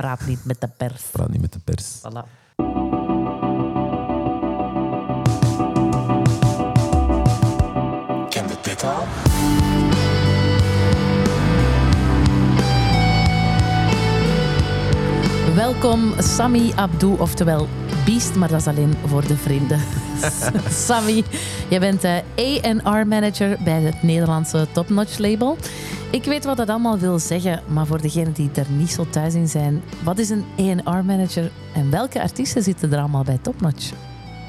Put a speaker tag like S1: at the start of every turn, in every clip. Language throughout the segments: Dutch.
S1: Praat niet met de pers.
S2: Praat niet met de pers.
S1: Voilà.
S3: Kende dit al?
S1: Welkom Sami Abdou, oftewel Beast, maar dat is alleen voor de vrienden. Sami, jij bent de A&R manager bij het Nederlandse Topnotch label. Ik weet wat dat allemaal wil zeggen, maar voor degenen die er niet zo thuis in zijn, wat is een A&R manager en welke artiesten zitten er allemaal bij Topnotch?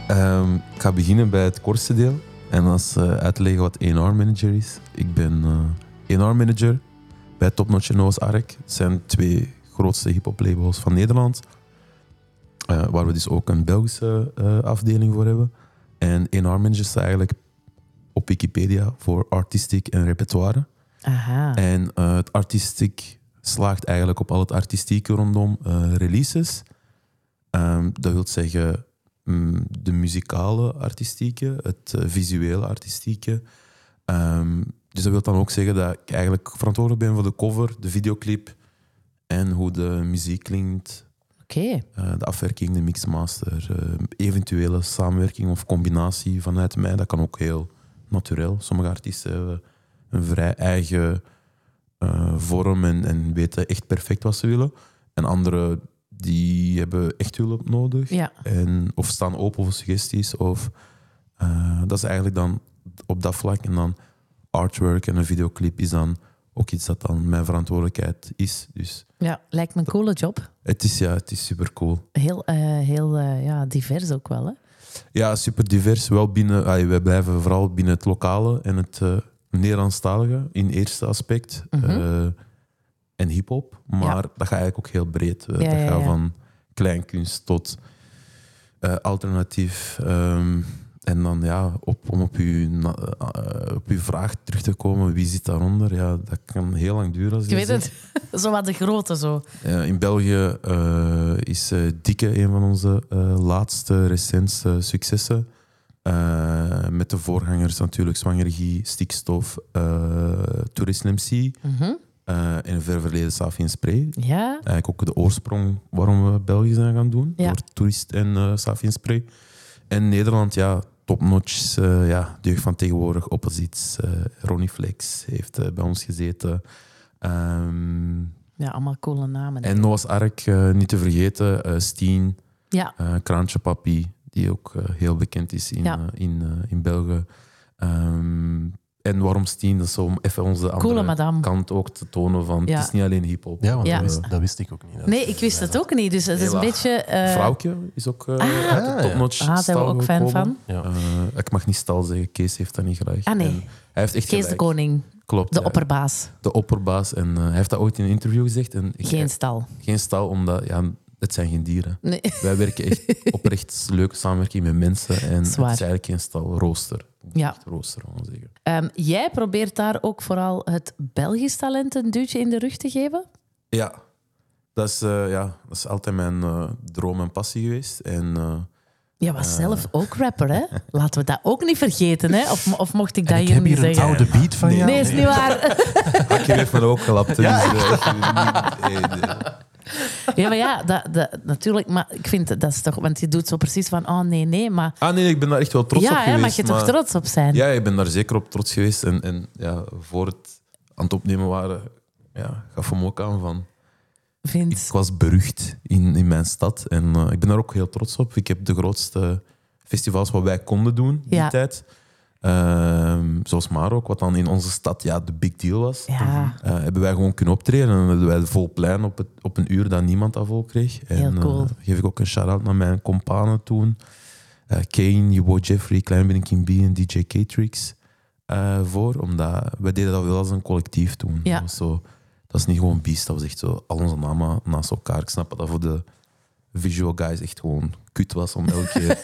S2: Ehm, ik ga beginnen bij het kortste deel. En dat is eh, uit te leggen wat A&R manager is. Ik ben eh A&R manager bij Top Notch en Noah's Ark. Het zijn twee grootste hip-hop labels van Nederland. eh, waar we dus ook een Belgische eh, afdeling voor hebben. En A&R manager staat eigenlijk op Wikipedia voor artistiek en repertoire.
S1: Aha.
S2: En eh, het artistiek slaagt eigenlijk op al het artistieke rondom eh, releases. Ehm, dat wil zeggen mm, de muzikale artistieke, het eh, visuele artistieke. Ehm, dus dat wil dan ook zeggen dat ik eigenlijk verantwoordelijk ben voor de cover, de videoclip en hoe de muziek klinkt,
S1: Oké,
S2: eh, de afwerking, de mixmaster, eh, eventuele samenwerking of combinatie vanuit mij. Dat kan ook heel natuurlijk. Sommige artiesten hebben een vrij eigen eh, vorm en, en weten echt perfect wat ze willen. En anderen die hebben echt hulp nodig.
S1: ja.
S2: En, of staan open voor suggesties. Of, eh, dat is eigenlijk dan op dat vlak. En dan artwork en een videoclip is dan ook iets dat dan mijn verantwoordelijkheid is. Dus
S1: ja, lijkt me een coole job.
S2: het is, ja, het is super cool.
S1: Heel, eh, heel eh, ja, divers ook wel, hè?
S2: Ja, super divers. Wel binnen, ah, wij blijven vooral binnen het lokale en het eh Nederlandstalige in eerste aspect.
S1: Mhm.
S2: Eh, en hip-hop. Maar
S1: Ja.
S2: dat gaat eigenlijk ook heel breed. Eh,
S1: Ja,
S2: dat
S1: ja,
S2: gaat
S1: ja.
S2: van kleinkunst tot eh, alternatief. ehm, en dan ja, op, om op uw, na- eh, op uw vraag terug te komen, wie zit daaronder? Ja, dat kan heel lang duren. Als
S1: Ik
S2: je
S1: weet
S2: zegt.
S1: het. zo wat de grote, zo.
S2: Eh, in België eh, is eh, Dikke een van onze eh, laatste recentste successen. Eh, met de voorgangers natuurlijk Zwangerie, Stikstof, eh Tourism MC
S1: Mhm.
S2: eh, en ver verleden Safi en Spray.
S1: Ja,
S2: Eigenlijk ook de oorsprong waarom we België zijn gaan doen.
S1: Ja.
S2: Door Toerist en eh Safi en Spray. En Nederland, ja, topnotch. eh ja, de jeugd van tegenwoordig, opposites. eh Ronnie Flex heeft eh, bij ons gezeten. Ehm
S1: ja allemaal coole namen. hè.
S2: en Noah's Ark, eh, niet te vergeten, eh Steen,
S1: Ja,
S2: eh, Kraantje Papi, die ook eh, heel bekend is in,
S1: Ja.
S2: eh, in, eh, in België. Ehm, en waarom Steen? Dat is om even onze andere
S1: coole madame.
S2: kant ook te tonen van
S1: Ja.
S2: het is niet alleen hip-hop.
S3: Ja, want
S1: Ja.
S3: Dat, wist, dat wist ik ook niet.
S1: Nee, ik wist het ook niet. Dus het is een
S2: Hela.
S1: beetje... eh,
S2: Vrouwtje is ook eh
S1: Ah.
S2: uit de topnotch.
S1: Ah, zijn we
S2: stal
S1: ook fan
S2: gekomen.
S1: van.
S3: Ja.
S2: Eh, ik mag niet stal zeggen, Kees heeft dat niet graag.
S1: Ah, nee.
S2: En hij heeft echt
S1: Kees de
S2: gelijk.
S1: Koning,
S2: Klopt,
S1: de
S2: ja.
S1: opperbaas.
S2: de opperbaas. En eh, hij heeft dat ooit in een interview gezegd. En ik- eh,
S1: Geen stal.
S2: geen stal, omdat ja, het zijn geen dieren.
S1: Nee.
S2: Wij werken echt oprecht leuke samenwerking met mensen. En het is
S1: Zwaar.
S2: eigenlijk geen stal, rooster.
S1: Ja.
S2: Echt Rooster, kan ik zeggen.
S1: Ehm, jij probeert daar ook vooral het Belgisch talent een duwtje in de rug te geven.
S2: Ja. Dat is, eh, ja, dat is altijd mijn eh, droom en passie geweest. En eh,
S1: Jij was zelf ook rapper, hè? Laten we dat ook niet vergeten, hè? Of, of mocht ik dat
S3: En ik
S1: hier
S3: heb
S1: niet
S3: hier een
S1: zeggen?
S3: oude beat van jou.
S1: Nee, is niet waar.
S2: Hakje heeft me ook gelapt. hè,
S3: Ja.
S2: dus, eh, eh, eh, eh,
S1: Ja, maar ja, dat, dat, natuurlijk. Maar ik vind dat- dat is toch... Want je doet zo precies van, oh nee, nee. Maar
S2: ah nee, ik ben daar echt wel trots
S1: ja,
S2: op
S1: hè,
S2: geweest.
S1: mag je toch
S2: maar-
S1: trots op zijn?
S2: Ja, ik ben daar zeker op trots geweest. En, en ja, voor het aan het opnemen waren, ja, gaf hem ook aan van...
S1: Vindt.
S2: Ik was berucht in, in mijn stad en eh, ik ben daar ook heel trots op. Ik heb de grootste festivals wat wij konden doen die
S1: Ja.
S2: tijd. Ehm, zoals maar ook, wat dan in onze stad ja, de big deal was.
S1: Ja,
S2: eh, hebben wij gewoon kunnen optreden. En dan hebben wij vol plein op, het, op een uur dat niemand dat vol kreeg. En,
S1: Heel cool.
S2: eh, geef ik ook een shout-out naar mijn companen toen. Eh, Kane, Jebo Jeffrey, Kleinbin Kim B en DJ Catrix eh, voor. Omdat wij deden dat wel als een collectief toen.
S1: Ja.
S2: Dat, was zo, dat is niet gewoon Beast, dat was echt zo al onze namen naast elkaar. Ik snap dat dat voor de visual guys echt gewoon kut was om elke keer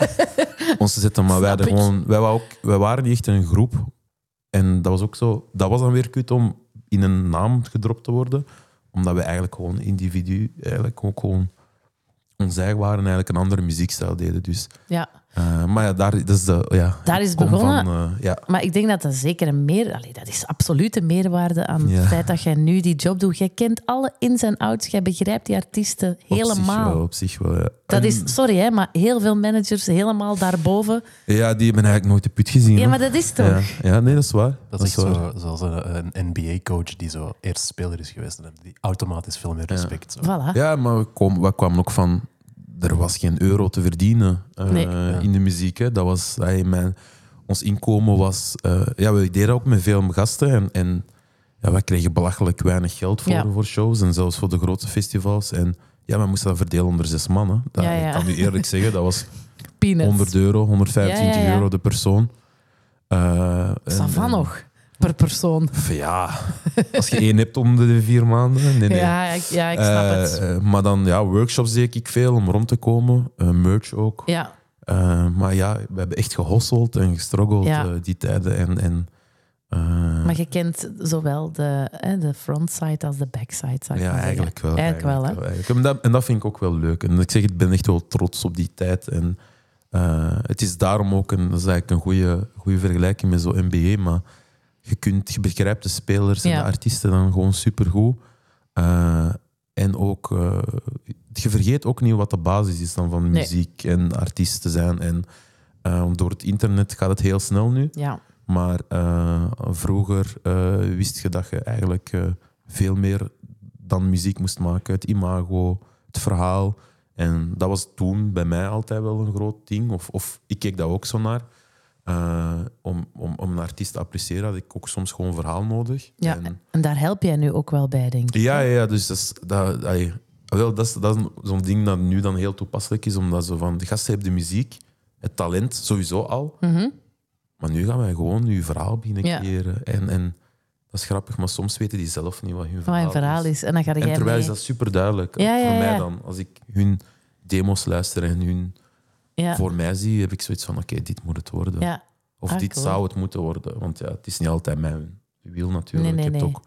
S2: ons te zetten. Maar wij,
S1: Snap
S2: hadden
S1: ik.
S2: gewoon, wij, waren ook, wij waren niet echt een groep. En dat was ook zo. Dat was dan weer kut om in een naam gedropt te worden. Omdat we eigenlijk gewoon individu, eigenlijk ook gewoon ons eigen waren en eigenlijk een andere muziekstijl deden. Dus
S1: ja.
S2: Eh, maar ja, daar, dat is de, ja,
S1: Daar is het
S2: kom
S1: begonnen.
S2: Van, eh, ja,
S1: Maar ik denk dat dat zeker een meer... Allee, dat is absoluut een meerwaarde aan
S2: Ja.
S1: het feit dat jij nu die job doet. Jij kent alle ins en outs. Jij begrijpt die artiesten
S2: Op zich wel,
S1: helemaal.
S2: op zich wel ja.
S1: Dat
S2: En-
S1: is, sorry hè, maar heel veel managers helemaal daarboven.
S2: Ja, die hebben eigenlijk nooit de put gezien.
S1: Ja,
S2: hè.
S1: maar dat is toch?
S2: ja. ja, nee, dat is waar.
S3: Dat is echt
S2: waar.
S3: zo, zoals een, NBA-coach die zo eerst speler is geweest. En die automatisch veel meer respect. zo.
S1: Voilà.
S2: Ja, maar we, kom- we kwamen ook van... Er was geen euro te verdienen eh,
S1: Nee.
S2: in de muziek. Hè. Dat was, hey, mijn, ons inkomen was... eh, ja, we deden ook met veel gasten. En, en ja, wij kregen belachelijk weinig geld voor,
S1: Ja.
S2: voor shows. En zelfs voor de grote festivals. En ja, we moesten dat verdelen onder zes mannen. Dat,
S1: Ja, ja.
S2: Ik kan nu eerlijk zeggen, dat was
S1: Peanuts.
S2: 100 euro, 125
S1: Ja, ja, ja.
S2: euro de persoon. Eh, en-
S1: Savan
S2: en-
S1: nog, per persoon.
S2: Pff, Ja, als je één hebt om de vier maanden. Nee, nee.
S1: Ja, ik, ja, ik snap
S2: Eh,
S1: het.
S2: eh, maar dan, ja, workshops deed ik veel om rond te komen. Eh, merch ook.
S1: Ja,
S2: Eh, maar ja, we hebben echt gehosseld en gestruggeld
S1: Ja.
S2: eh, die tijden. En, en, eh,
S1: maar je kent zowel de, hè, de frontside als de backside, zou Dus ik
S2: ja,
S1: maar zeggen.
S2: eigenlijk wel.
S1: Eigenlijk wel, hè?
S2: eigenlijk wel. En, dat, en dat vind ik ook wel leuk. En ik zeg, ik ben echt wel trots op die tijd. En eh, het is daarom ook een, dat is eigenlijk een goede, goede vergelijking met zo'n NBA. Maar je, kunt, je begrijpt de spelers en
S1: Ja.
S2: de artiesten dan gewoon supergoed. Eh, en ook, eh, je vergeet ook niet wat de basis is dan van
S1: Nee.
S2: muziek en artiest te zijn. En eh, door het internet gaat het heel snel nu.
S1: Ja,
S2: Maar eh, vroeger eh, wist je dat je eigenlijk eh, veel meer dan muziek moest maken. Het imago, het verhaal. En dat was toen bij mij altijd wel een groot ding. Of, of ik keek daar ook zo naar. Eh, om, om, om een artiest te appreciëren had ik ook soms gewoon een verhaal nodig.
S1: ja.
S2: En-
S1: En, daar help jij nu ook wel bij, denk ik.
S2: ja, ja, ja, dus dat is, dat, ai, wel, dat is, dat is een- zo'n ding dat nu dan heel toepasselijk is. Omdat zo van, de gasten hebben de muziek, het talent sowieso al.
S1: Mhm.
S2: Maar nu gaan wij gewoon uw verhaal beginnen
S1: Ja.
S2: creëren. En, en dat is grappig, maar soms weten die zelf niet wat hun
S1: Wat
S2: verhaal,
S1: mijn verhaal is. En dan ga jij
S2: En terwijl
S1: mee.
S2: is dat super duidelijk.
S1: Ja, ja,
S2: voor mij
S1: ja.
S2: dan, als ik hun demos luister en hun
S1: ja.
S2: voor mij zie, heb ik zoiets van: oké, dit moet het worden.
S1: ja.
S2: Of
S1: Ah,
S2: dit
S1: cool.
S2: zou het moeten worden. Want ja, het is niet altijd mijn wil natuurlijk.
S1: Nee, nee,
S2: je hebt
S1: nee.
S2: ook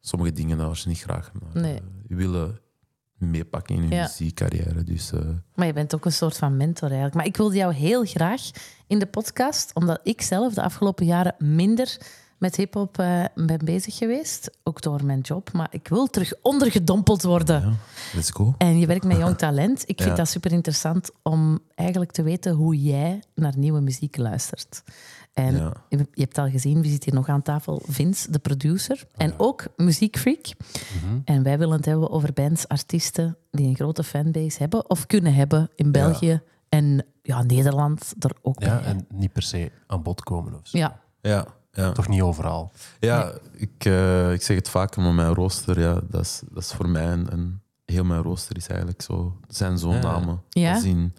S2: sommige dingen daar als je niet graag maar,
S1: Nee.
S2: eh, je willen meepakken in je
S1: Ja.
S2: muziekcarrière. Dus eh,
S1: Maar je bent ook een soort van mentor eigenlijk. Maar ik wilde jou heel graag in de podcast, omdat ik zelf de afgelopen jaren minder met hip-hop eh, ben bezig geweest. Ook door mijn job. Maar ik wil terug ondergedompeld worden.
S2: ja, let's go.
S1: En je werkt met jong talent. Ik vind
S2: Ja.
S1: dat super interessant om eigenlijk te weten hoe jij naar nieuwe muziek luistert. En
S2: Ja.
S1: je je hebt al gezien, we zitten hier nog aan tafel, Vince, de producer.
S2: Oh
S1: En ook muziekfreak. En wij willen het hebben over bands, artiesten die een grote fanbase hebben of kunnen hebben in België en ja, Nederland er ook
S3: Ja,
S1: bij.
S3: en niet per se aan bod komen of zo.
S1: ja,
S2: Ja, ja.
S3: Toch niet overal.
S2: Ja, ik, eh, ik zeg het vaker, maar mijn rooster, ja, dat, is, dat is voor mij een, een- Heel mijn rooster is eigenlijk zo. Het zijn zo'n
S3: Ja.
S2: namen.
S1: Ja?
S2: Dat Zien,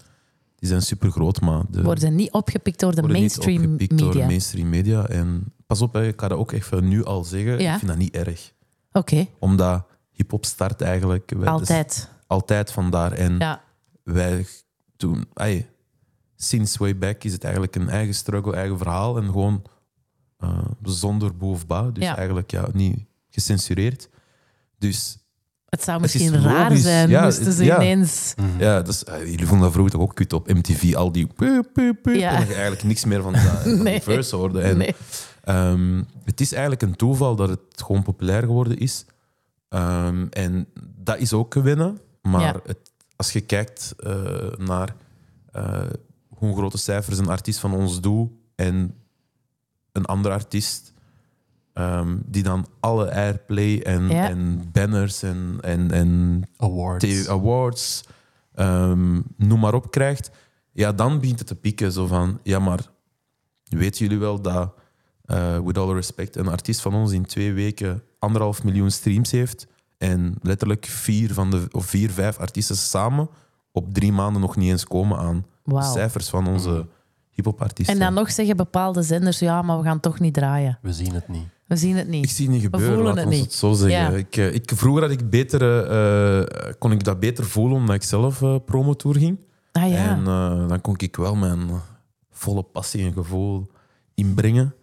S2: die zijn super groot, maar de,
S1: worden niet opgepikt door de
S2: worden niet
S1: mainstream
S2: opgepikt door de
S1: media.
S2: mainstream media. En pas op, hè, ik kan dat ook even nu al zeggen.
S1: Ja.
S2: Ik vind dat niet erg.
S1: Oké,
S2: Omdat hip-hop start eigenlijk. wij- dat is
S1: altijd.
S2: altijd vandaar. En
S1: Ja,
S2: wij toen. ai, sinds way back is het eigenlijk een eigen struggle, eigen verhaal. En gewoon eh, zonder boe of ba. Dus
S1: Ja.
S2: eigenlijk ja, niet gecensureerd. Dus
S1: het zou
S2: Het is
S1: misschien raar
S2: logisch.
S1: zijn,
S2: Ja,
S1: moesten
S2: het-
S1: ze
S2: ja.
S1: ineens...
S2: ja, dat is, eh, jullie vonden dat vroeger toch ook kut op MTV. Al die. pup, pup, pup,
S1: Ja.
S2: En dat je eigenlijk niks meer van, dat, van
S1: Nee.
S2: die verse hoorde. En,
S1: Nee.
S2: Ehm, het is eigenlijk een toeval dat het gewoon populair geworden is. Ehm, en dat is ook gewinnen. Maar
S1: Ja.
S2: het, als je kijkt eh, naar eh, hoe grote cijfers een artiest van ons doet en een andere artiest, ehm, die dan alle airplay en,
S1: Ja.
S2: en banners en, en, en
S3: Awards.
S2: TV awards, ehm, noem maar op krijgt, ja, dan begint het te pieken. Zo van, ja, maar weten jullie wel dat, eh, with all respect, een artiest van ons in twee weken anderhalf miljoen streams heeft en letterlijk vier, van de, of vier vijf artiesten samen op drie maanden nog niet eens komen aan de
S1: Wauw.
S2: cijfers van onze hip-hop artiesten.
S1: En dan nog zeggen bepaalde zenders, ja, maar we gaan toch niet draaien.
S3: We zien het niet.
S1: We zien het
S2: Ik
S1: niet.
S2: zie het niet gebeuren,
S1: voelen
S2: laat
S1: het
S2: ons
S1: niet.
S2: het zo zeggen.
S1: Ja.
S2: Ik, eh, ik, vroeger had ik beter, eh, kon ik dat beter voelen omdat ik zelf eh promotour ging.
S1: Ah ja,
S2: En eh, dan kon ik wel mijn volle passie en gevoel inbrengen.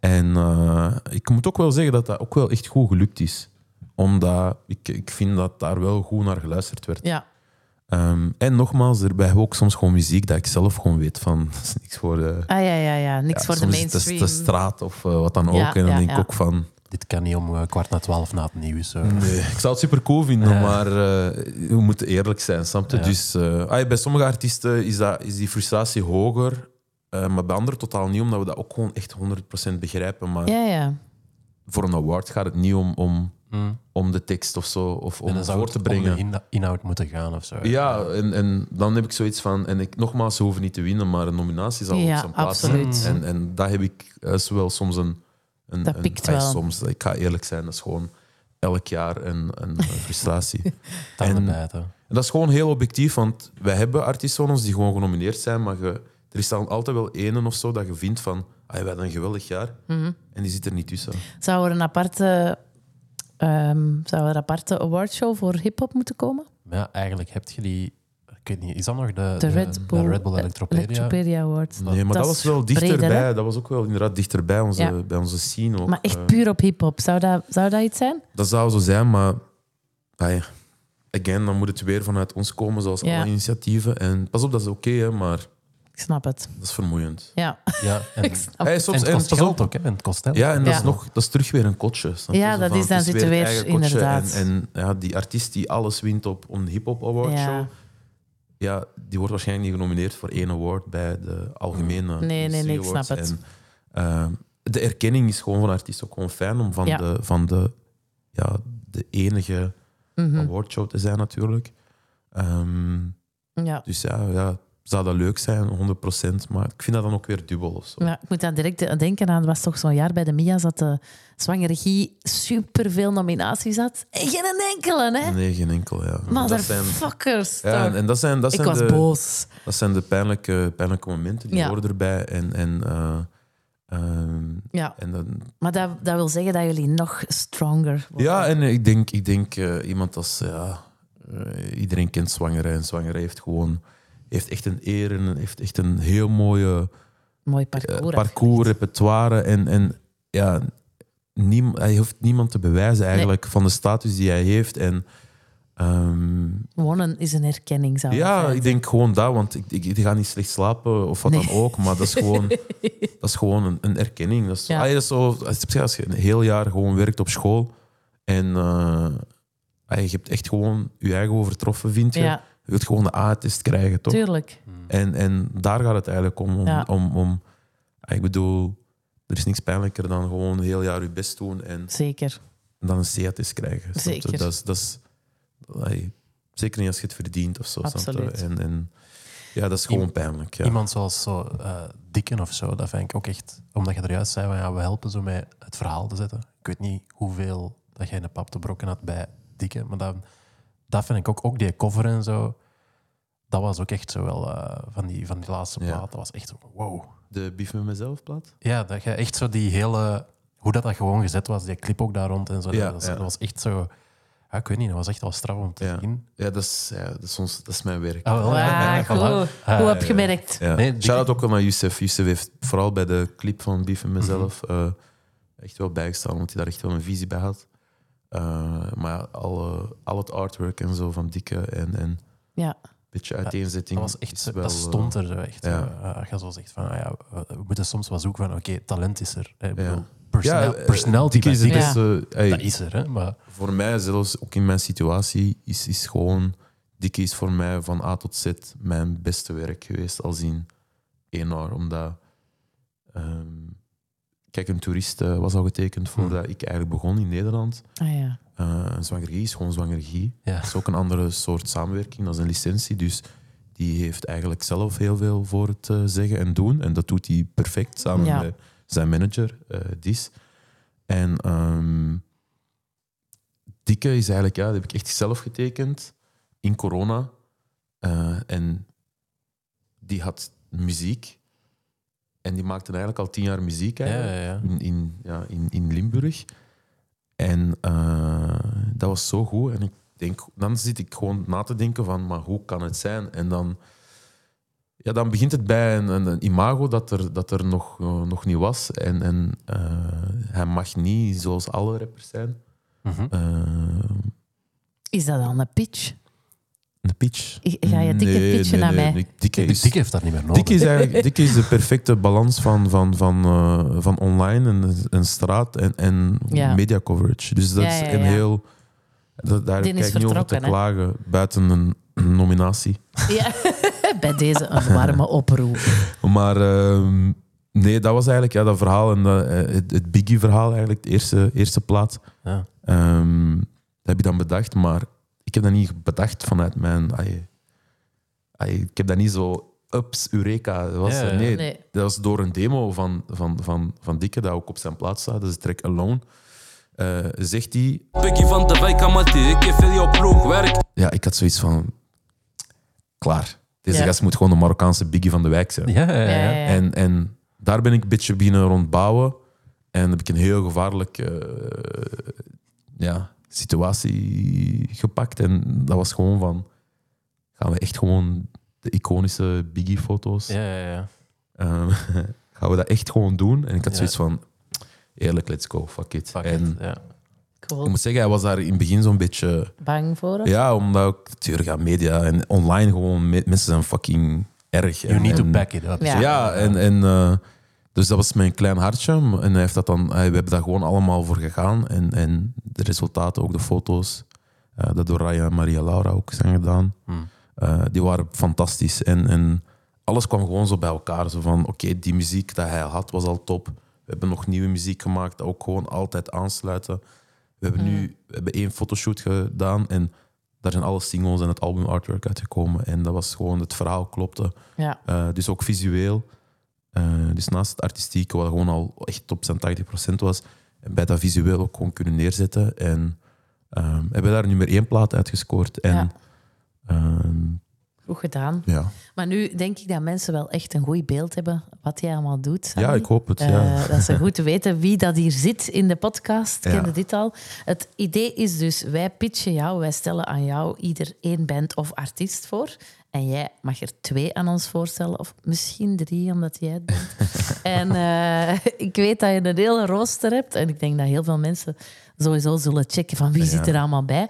S2: En eh, ik moet ook wel zeggen dat dat ook wel echt goed gelukt is. Omdat ik, ik vind dat daar wel goed naar geluisterd werd.
S1: ja.
S2: Ehm, en nogmaals, erbij ook soms gewoon muziek dat ik zelf gewoon weet van, dat is niks voor, eh,
S1: Ah ja, ja, ja. Niks
S2: ja,
S1: voor de
S2: soms is het
S1: mainstream.
S2: de straat of eh, wat dan ook.
S1: Ja,
S2: en dan
S1: ja,
S2: denk ik
S1: ja.
S2: ook van,
S3: Dit kan niet om eh, kwart na twaalf na het nieuws. eh.
S2: Nee, ik zou het super cool vinden,
S3: Ja.
S2: maar eh, we moeten eerlijk zijn, snap je?
S3: Ja.
S2: Dus, eh, ah, bij sommige artiesten is, dat, is die frustratie hoger, eh, maar bij anderen totaal niet, omdat we dat ook gewoon echt 100% begrijpen. Maar
S1: Ja, ja.
S2: voor een award gaat het niet om, om,
S3: Mm.
S2: om de tekst of zo, of
S3: En
S2: om
S3: dan
S2: het
S3: zou
S2: voor
S3: het
S2: te
S3: om
S2: brengen.
S3: de inho- inhoud moeten gaan of zo.
S2: Ja, en, en dan heb ik zoiets van, en ik, nogmaals, ze hoeven niet te winnen, maar een nominatie zal
S1: Ja,
S2: op zijn plaats
S1: absoluut.
S2: zijn. En, en daar heb ik eh, wel soms een... een
S1: Dat
S2: een-
S1: pikt
S2: ah,
S1: wel.
S2: Soms, ik ga eerlijk zijn, dat is gewoon elk jaar een, een eh, frustratie.
S3: Tanden
S2: En-
S3: bijten.
S2: En dat is gewoon heel objectief, want wij hebben artiesten van ons die gewoon genomineerd zijn, maar je, er is dan altijd wel ene of zo dat je vindt van, ah, we hadden een geweldig jaar, en die zit er niet tussen.
S1: Mhm. Zou er een aparte, ehm, zou er een aparte awardshow voor hip-hop moeten komen?
S3: Maar ja, eigenlijk heb je die... Ik weet niet, is dat nog de,
S1: De Red Bull,
S3: Red Bull
S1: eh,
S3: Electropedia?
S1: Electropedia Awards.
S2: Nee, maar dat,
S1: is
S2: was wel
S1: breder,
S2: dichterbij.
S1: hè?
S2: dat was ook wel inderdaad dichterbij onze,
S1: Ja.
S2: bij onze scene. Ook.
S1: Maar
S2: Eh,
S1: echt puur op hip-hop. Zou dat, zou dat iets zijn?
S2: dat zou zo zijn, maar ah ja, again, dan moet het weer vanuit ons komen, zoals
S1: Ja.
S2: alle initiatieven. En pas op, dat is oké, hè, maar
S1: Ik snap het.
S2: dat is vermoeiend.
S1: Ja,
S3: Ja, en,
S1: ik snap
S2: Hey,
S3: en
S2: soms,
S3: het
S2: en
S3: kost
S2: pas
S3: geld
S2: op,
S3: ook, hè? En het kost geld.
S2: Ja, en dat,
S1: Ja.
S2: Is nog, dat is terug weer een kotje. snap je?
S1: Ja,
S2: Zo
S1: dat
S2: van,
S1: is- dan
S2: het
S1: zitten we
S2: het
S1: weer-
S2: eigen kotje.
S1: inderdaad.
S2: En, en ja, die artiest die alles wint op een hip-hop award
S1: Ja.
S2: show, ja, die wordt waarschijnlijk niet genomineerd voor één award bij de algemene.
S1: nee,
S2: Industrie
S1: nee, ik snap
S2: Awards.
S1: het.
S2: En, ehm, de erkenning is gewoon van artiest ook gewoon fijn om van,
S1: Ja.
S2: de, van de, ja, de enige
S1: Mhm.
S2: awardshow te zijn, natuurlijk. Ehm,
S1: Ja.
S2: dus ja, ja, zou dat leuk zijn, 100%, maar ik vind dat dan ook weer dubbel of zo.
S1: Ja, ik moet dan direct denken aan, het was toch zo'n jaar bij de Mia's dat de zwangere regie superveel nominaties had. En geen een enkele, hè?
S2: Nee, geen enkel. Ja. Dat zijn-
S1: Motherfuckers.
S2: Ja, en,
S1: toch?
S2: en dat zijn, dat
S1: ik
S2: zijn
S1: was
S2: de,
S1: boos.
S2: Dat zijn de pijnlijke, pijnlijke momenten, die
S1: Ja.
S2: horen erbij. En, en, eh, ehm,
S1: Ja,
S2: en dan,
S1: maar dat, dat wil zeggen dat jullie nog stronger worden.
S2: ja, en ik denk, ik denk eh, iemand als... ja, eh, iedereen kent zwangere en zwangere heeft gewoon... Heeft echt een eer en heeft echt een heel mooie
S1: Mooi
S2: eh,
S1: parcours.
S2: parcours, repertoire. En, en ja, niem- hij hoeft niemand te bewijzen eigenlijk van de status die hij heeft. En ehm,
S1: Wonnen is een herkenning, zou ik
S2: Ja,
S1: zeggen.
S2: ik denk gewoon dat, want ik, ik, ik ga niet slecht slapen of wat dan ook, maar dat is gewoon, dat is gewoon een, een erkenning. Dat is,
S1: Ja.
S2: ah, dat is zo, als je- als je een heel jaar gewoon werkt op school en eh, ah, je hebt echt gewoon je eigen overtroffen, vind je.
S1: Ja,
S2: Je wilt gewoon de A-test krijgen, toch?
S1: tuurlijk.
S2: En, en daar gaat het eigenlijk om. om,
S1: Ja.
S2: om, om ah, ik bedoel, er is niks pijnlijker dan gewoon een heel jaar je best doen en
S1: Zeker.
S2: dan een C-test krijgen. snap je?
S1: Zeker.
S2: Dat is, dat is, ai, zeker niet als je het verdient of zo. snap je?
S1: Absoluut.
S2: En, en, ja, dat is gewoon
S3: Iem-
S2: pijnlijk. Ja.
S3: Iemand zoals zo, eh, Dikken of zo, dat vind ik ook echt... Omdat je er juist zei, van, ja, we helpen zo met het verhaal te zetten. Ik weet niet hoeveel dat jij in de pap te brokken had bij Dikken, maar dat, dat vind ik ook, ook die cover en zo... Dat was ook echt zo wel eh, van, die, van die laatste
S2: Ja.
S3: plaat. Dat was echt zo, wow.
S2: De Bief met mezelf plaat?
S3: Ja, dat je echt zo die hele... Hoe dat, dat gewoon gezet was, die clip ook daar rond en zo.
S2: Ja,
S3: dat, was,
S2: ja.
S3: dat was echt zo... Ja, ik weet niet, dat was echt wel straf om te
S2: Ja.
S3: zien.
S2: Ja, dat is, ja, dat is, ons, dat is mijn werk.
S3: Ah, wel, ja,
S1: Wauw,
S3: ja, voilà.
S1: goed.
S3: Ah,
S1: Goed opgemerkt.
S2: Ja.
S3: Nee, die-
S2: Shout-out ook wel naar Youssef. Youssef heeft vooral bij de clip van Bief
S3: Mhm.
S2: en mezelf eh, echt wel bijgestaan, omdat hij daar echt wel een visie bij had. Eh, maar ja, alle, al het artwork en zo van Dikke en een
S1: Ja.
S2: beetje uiteenzetting.
S3: Dat, was echt,
S2: is
S3: zo-
S2: wel,
S3: dat
S2: eh,
S3: stond er zo echt.
S2: ja.
S3: Ja. je zo zegt van, ah ja, we, we moeten soms wel zoeken van, oké, talent is er. hè. Ik
S2: Ja.
S3: bedoel, personnel-
S2: eh,
S3: personality
S2: Dikke is
S3: bij
S2: de
S1: Ja.
S3: Dikke,
S2: beste. eh, hey,
S3: dat is er, hè. Maar
S2: voor mij, zelfs ook in mijn situatie, is, is gewoon... Dikke is voor mij van A tot Z mijn beste werk geweest, al zien één jaar. Omdat... ehm, kijk, een toerist eh, was al getekend voordat ik eigenlijk begon in Nederland.
S1: Ah, ja.
S2: Eh een zwangergie is gewoon zwangergie.
S3: ja,
S2: Dat is ook een andere soort samenwerking, dat is een licentie. Dus die heeft eigenlijk zelf heel veel voor het eh, zeggen en doen. En dat doet hij perfect samen
S1: Ja.
S2: met zijn manager, eh, Dis. En ehm Dikke is eigenlijk, ja, dat heb ik echt zelf getekend in corona. Eh, en die had muziek. En die maakte eigenlijk al tien jaar muziek
S3: ja,
S2: eigenlijk
S3: ja, ja.
S2: in, in, ja, in, in Limburg. En eh, dat was zo goed. En ik denk, dan zit ik gewoon na te denken van, maar hoe kan het zijn? En dan, ja, dan begint het bij een, een, een imago dat er, dat er nog, eh, nog niet was. En, en eh, hij mag niet zoals alle rappers zijn.
S3: Mhm.
S2: Eh,
S1: Is dat dan een pitch?
S2: Een pitch.
S1: Ga je dikke
S2: Nee,
S1: pitchen
S2: nee,
S1: naar
S2: nee,
S1: mij?
S2: nee, Dikke is,
S3: Dikke Eh, dus heeft dat niet meer nodig.
S2: Dikke is eigenlijk Dikke is de perfecte balans van, van, van, eh, van online en, en straat en, en
S1: Ja.
S2: media coverage. Dus dat
S1: Ja,
S2: is
S1: ja,
S2: een
S1: ja.
S2: heel. Dat, daar
S1: Die
S2: kijk
S1: is
S2: ik niet over te
S1: vertrokken, hè?
S2: klagen buiten een, een nominatie.
S1: Ja. Bij deze een warme oproep.
S2: Maar ehm, nee, dat was eigenlijk ja, dat verhaal. En dat, eh, het, het Biggie-verhaal, eigenlijk, de eerste, eerste plaat.
S3: Ja.
S2: Ehm, dat heb ik dan bedacht, maar ik heb dat niet bedacht vanuit mijn. ai, ai, ik heb dat niet zo. Ups, Eureka. Dat was,
S3: Ja, ja.
S2: nee,
S1: Nee.
S2: dat was door een demo van, van, van, van Dikke, dat ook op zijn plaats staat, dus de track Alone. eh, zegt hij.
S4: Becky van de wijk, Amati, ik geef heel jouw ploeg werk.
S2: Ja, ik had zoiets van. Klaar. Deze
S1: Ja.
S2: gast moet gewoon de Marokkaanse Biggie van de wijk zijn.
S3: Ja, ja, ja.
S1: Ja.
S2: En, en daar ben ik een beetje beginnen rondbouwen. En heb ik een heel gevaarlijke eh, ja, situatie gepakt. En dat was gewoon van... Gaan we echt gewoon de iconische Biggie-foto's...
S3: ja, ja, ja.
S2: ehm, gaan we dat echt gewoon doen? En ik had
S3: Ja.
S2: zoiets van... Eerlijk, let's go, fuck it.
S3: Fuck
S2: en
S3: it, ja.
S2: ik
S1: Cool.
S2: moet zeggen, hij was daar in het begin zo'n beetje...
S1: Bang voor hem?
S2: Ja, omdat ook... Natuurlijk, ja, media en online gewoon... me- Mensen zijn fucking erg.
S3: You
S2: en-
S3: need to
S2: en-
S3: back it up.
S1: Ja.
S2: ja, en, en eh, dus dat was mijn klein hartje. En hij heeft dat dan, hij- we hebben daar gewoon allemaal voor gegaan. En, en de resultaten, ook de foto's, eh, dat door Raya en Maria Laura ook zijn gedaan,
S3: Hmm.
S2: eh, die waren fantastisch. En, en alles kwam gewoon zo bij elkaar. Zo van, oké, die muziek dat hij had was al top. We hebben nog nieuwe muziek gemaakt, dat ook gewoon altijd aansluiten. We hebben nu we hebben één fotoshoot gedaan en daar zijn alle singles en het album artwork uitgekomen. En dat was gewoon, het verhaal klopte.
S1: Ja.
S2: Eh, dus ook visueel. Eh, dus naast het artistieke, wat gewoon al echt op zijn 80% was, en bij dat visueel ook gewoon kunnen neerzetten. En ehm, hebben daar nummer één plaat uitgescoord. En
S1: Ja.
S2: ja.
S1: Goed gedaan.
S2: ja.
S1: Maar nu denk ik dat mensen wel echt een goed beeld hebben wat jij allemaal doet. Sammy.
S2: ja, ik hoop het.
S1: Eh,
S2: ja.
S1: dat ze goed weten wie dat hier zit in de podcast.
S2: Ja.
S1: Kennen dit al. Het idee is dus, wij pitchen jou, wij stellen aan jou ieder één band of artiest voor. En jij mag er twee aan ons voorstellen, of misschien drie, omdat jij het bent. en eh, ik weet dat je een hele rooster hebt. En ik denk dat heel veel mensen sowieso zullen checken van wie
S2: Ja.
S1: zit er allemaal bij.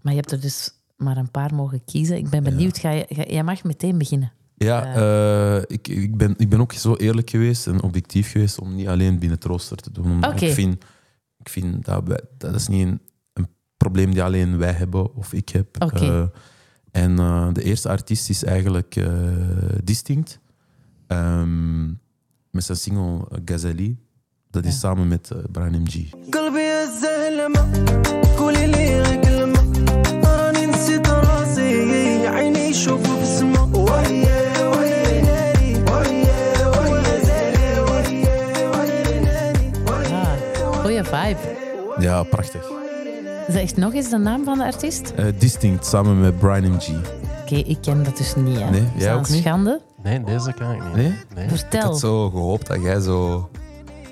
S1: Maar je hebt er dus maar een paar mogen kiezen. Ik ben benieuwd, ga je, ga- jij mag meteen beginnen.
S2: Ja, eh, ik, ik, ben, ik ben ook zo eerlijk geweest en objectief geweest om niet alleen binnen het rooster te doen. Omdat
S1: Oké.
S2: Ik vind, ik vind dat, wij- dat is niet een, een probleem die alleen wij hebben of ik heb.
S1: Oké.
S2: Eh, en eh, de eerste artiest is eigenlijk eh, Distinct. Ehm, met zijn single eh, Gazelle. Dat is
S1: Ja.
S2: samen met eh, Brian MG.
S5: قلبي يا الزهلمة قولي لي يا قلمة راني نسيت راسي عيني يشوفوا بسمة ويا ويا ناري ويا ويا زهلي ويا ويا ناري
S1: Ah, goeie vibe.
S2: Ja, prachtig.
S1: Zeg nog eens de naam van de artiest.
S2: Eh, Distinct samen met Brian MG.
S1: Oké, ik ken dat dus niet. Hè.
S2: Nee,
S1: Is
S2: jij
S1: dat
S2: ook
S1: een
S2: niet?
S1: schande.
S3: Nee, deze kan ik niet.
S2: Nee?
S1: Vertel.
S2: zo gehoopt dat jij zo...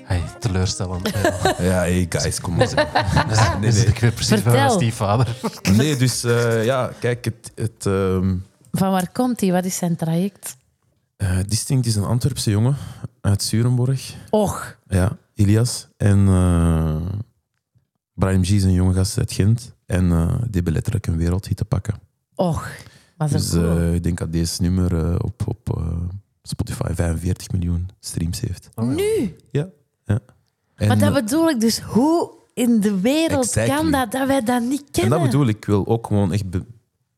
S3: Hey, teleurstellend.
S2: Ja, hey guys, kom maar.
S3: nee, nee. zit ik weer precies bij mijn
S1: Vertel.
S3: stiefvader.
S2: Nee, dus eh, ja, kijk, het, het, ehm,
S1: Van waar komt hij? Wat is zijn traject?
S2: eh, Distinct is een Antwerpse jongen uit Zurenborg.
S1: Och,
S2: Ja, Ilias. En eh, Brian G is een jonge gast uit Gent. En eh, die hebben letterlijk een wereldhit te pakken.
S1: och. Was
S2: Dus
S1: er cool.
S2: eh, ik denk dat deze nummer eh, op, op eh, Spotify 45 miljoen streams heeft.
S1: nu?
S2: En,
S1: Maar dat
S2: eh,
S1: bedoel ik dus. Hoe in de wereld
S2: Exactly.
S1: kan dat dat wij dat niet
S2: en
S1: kennen?
S2: dat bedoel ik, ik wil ook gewoon echt be-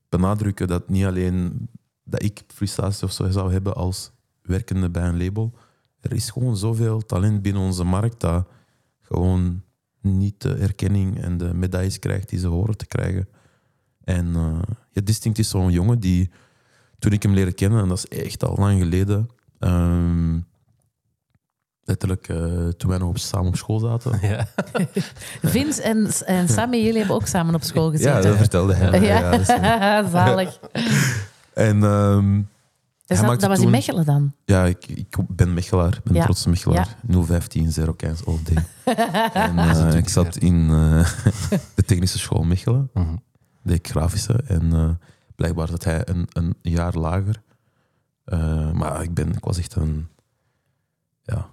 S2: benadrukken dat niet alleen dat ik frustratie of zo zou hebben als werkende bij een label. Er is gewoon zoveel talent binnen onze markt dat gewoon niet de erkenning en de medailles krijgt die ze horen te krijgen. En eh, ja, Distinct is zo'n jongen die, toen ik hem leerde kennen, en dat is echt al lang geleden, ehm, letterlijk eh, toen wij nog op, samen op school zaten.
S3: Ja.
S1: Vince en, en Sammy, jullie hebben ook samen op school
S2: Ja,
S1: gezeten.
S2: dat vertelde hij. mij. Ja, dat is-
S1: zalig.
S2: en ehm,
S1: Dus dat,
S2: maakte
S1: dat was in
S2: toen-
S1: Mechelen dan.
S2: Ja, ik, ik ben Mechelaar. Ik ben
S1: Ja.
S2: trotse Mechelaar. 015 015 all day. en, eh, ik zat in eh, de technische school Mechelen.
S3: Mhm.
S2: Deed ik grafische. En eh, blijkbaar zat hij een, een jaar lager. Eh, maar ik, ben, ik was echt een... Ja,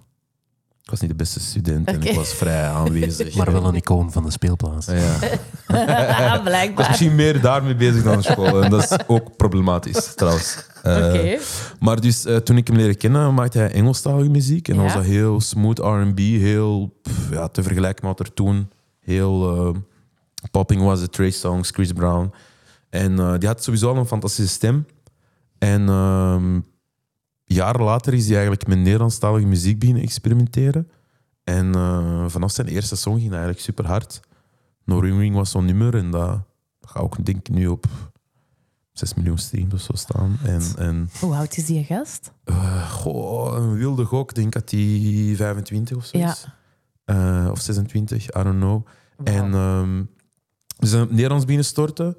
S2: ik was niet de beste student en ik
S1: Oké.
S2: was vrij aanwezig.
S3: Maar wel een icoon van de speelplaats.
S2: Ja. Ik was
S1: Ah, Blijkbaar.
S2: misschien meer daarmee bezig dan school. En dat is ook problematisch, trouwens. Eh,
S1: Oké.
S2: Maar dus, eh, toen ik hem leerde kennen, maakte hij Engelstalige muziek. En dan
S1: Ja.
S2: was dat heel smooth R&B. Heel, pff, ja, te vergelijken met wat er toen heel eh, popping was. De Trey Songs, Chris Brown. En eh, die had sowieso al een fantastische stem. En ehm jaren later is hij eigenlijk met Nederlandstalige muziek beginnen experimenteren. En eh, vanaf zijn eerste song ging hij eigenlijk super hard. No Ring Ring was zo'n nummer en dat gaat ook denk ik nu op 6 miljoen streams of zo staan. En, en
S1: Hoe oud is die gast?
S2: eh, goh, een wilde gok. Ik denk dat hij 25 of zo
S1: Ja.
S2: is. Eh, of 26, I don't know.
S1: Wauw.
S2: En ehm dus dan Nederlands binnen storten.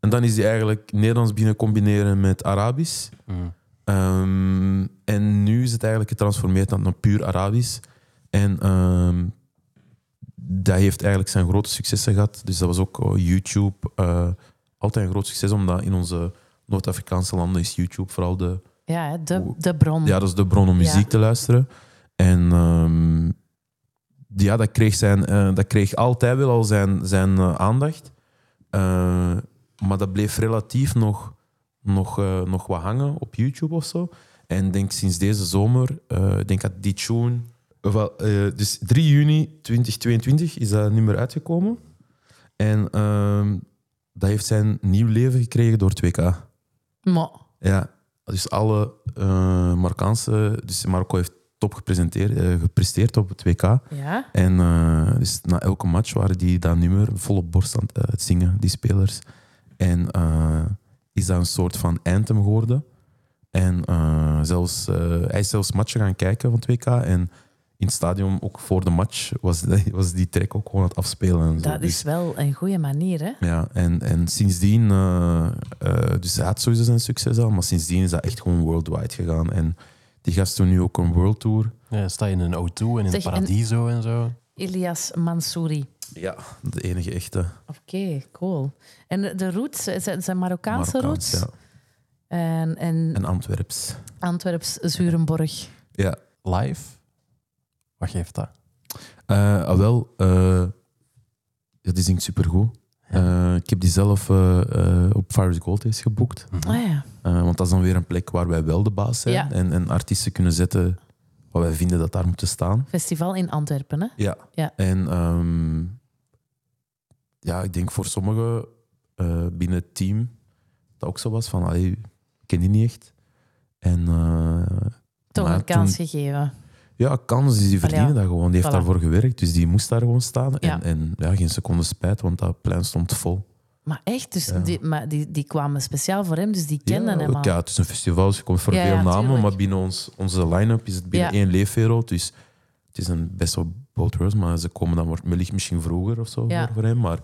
S2: En dan is hij eigenlijk Nederlands binnen combineren met Arabisch.
S3: Mm.
S2: Ehm, en nu is het eigenlijk getransformeerd naar puur Arabisch. En ehm, dat heeft eigenlijk zijn grote successen gehad. Dus dat was ook eh, YouTube. eh, altijd een groot succes, omdat in onze Noord-Afrikaanse landen is YouTube vooral de,
S1: ja, hè, de, de bron.
S2: ja, dat is de bron om muziek
S1: Ja.
S2: te luisteren. En ehm, ja, dat kreeg, zijn, eh, dat kreeg altijd wel al zijn, zijn eh, aandacht. Eh, maar dat bleef relatief nog, nog, eh, nog wat hangen op YouTube of zo. En ik denk sinds deze zomer, eh, ik denk dat die tune... eh, wel, eh, dus 3 juni 2022 is dat nummer uitgekomen. En ehm, dat heeft zijn nieuw leven gekregen door 2K.
S1: Maar,
S2: Ja, dus alle eh, Marokkaanse... Dus Marokko heeft top gepresenteerd, eh, gepresteerd op het WK.
S1: ja.
S2: En eh, dus na elke match waren die dat nummer vol op borst aan het eh, zingen, die spelers. En eh, is dat een soort van anthem geworden. En eh, zelfs, eh, hij is zelfs matchen gaan kijken van het WK. En in het stadion, ook voor de match, was, was die track ook gewoon aan het afspelen. en zo.
S1: Dat
S2: Dus-
S1: is wel een goede manier, hè?
S2: ja, en, en sindsdien, eh, eh, dus hij had sowieso zijn succes al, maar sindsdien is dat echt gewoon worldwide gegaan. En die gast doet nu ook een world tour.
S3: Ja, sta je in een O2 en in
S1: Zeg, en-
S3: een Paradiso en zo.
S1: Ilias Mansouri.
S2: Ja. De enige echte
S1: Oké, cool. En de roots, eh, zijn, zijn Marokkaanse
S2: Marokkaans.
S1: roots?
S2: Ja.
S1: En, en
S2: En Antwerps.
S1: Antwerps Zurenborg.
S2: Ja.
S3: Live? Wat geeft dat?
S2: Eh, ah, wel, eh, ja, die zingt supergoed. Eh, ik heb die zelf eh, eh, op Fires Gold eens geboekt.
S3: Mhm.
S1: Ah ja,
S2: Eh, want dat is dan weer een plek waar wij wel de baas zijn.
S1: Ja.
S2: En, en artiesten kunnen zetten wat wij vinden dat daar moeten staan.
S1: festival in Antwerpen, hè?
S2: Ja.
S1: Ja.
S2: En ehm, ja, ik denk voor sommigen eh, binnen het team dat ook zo was van, allee, ik ken die niet echt. En eh,
S1: Toch
S2: Maar
S1: een kans
S2: toen-
S1: gegeven.
S2: ja, kans is, die verdienen
S1: ja.
S2: dat gewoon. Die heeft
S1: Voilà.
S2: daarvoor gewerkt, dus die moest daar gewoon staan.
S1: Ja.
S2: En, en ja, geen seconde spijt, want dat plein stond vol.
S1: Maar echt, dus
S2: Ja.
S1: die, maar die, die kwamen speciaal voor hem, dus die kenden
S2: ja,
S1: hem al.
S2: ook, ja, het is een festival, dus je komt voor
S1: Ja,
S2: veel
S1: ja,
S2: namen,
S1: tuurlijk.
S2: maar binnen ons, onze line-up is het binnen
S1: Ja.
S2: één leefwereld. Dus het is een best wel bootworst, maar ze komen dan wordt- wellicht misschien vroeger of zo
S1: Ja.
S2: voor, voor hem. Maar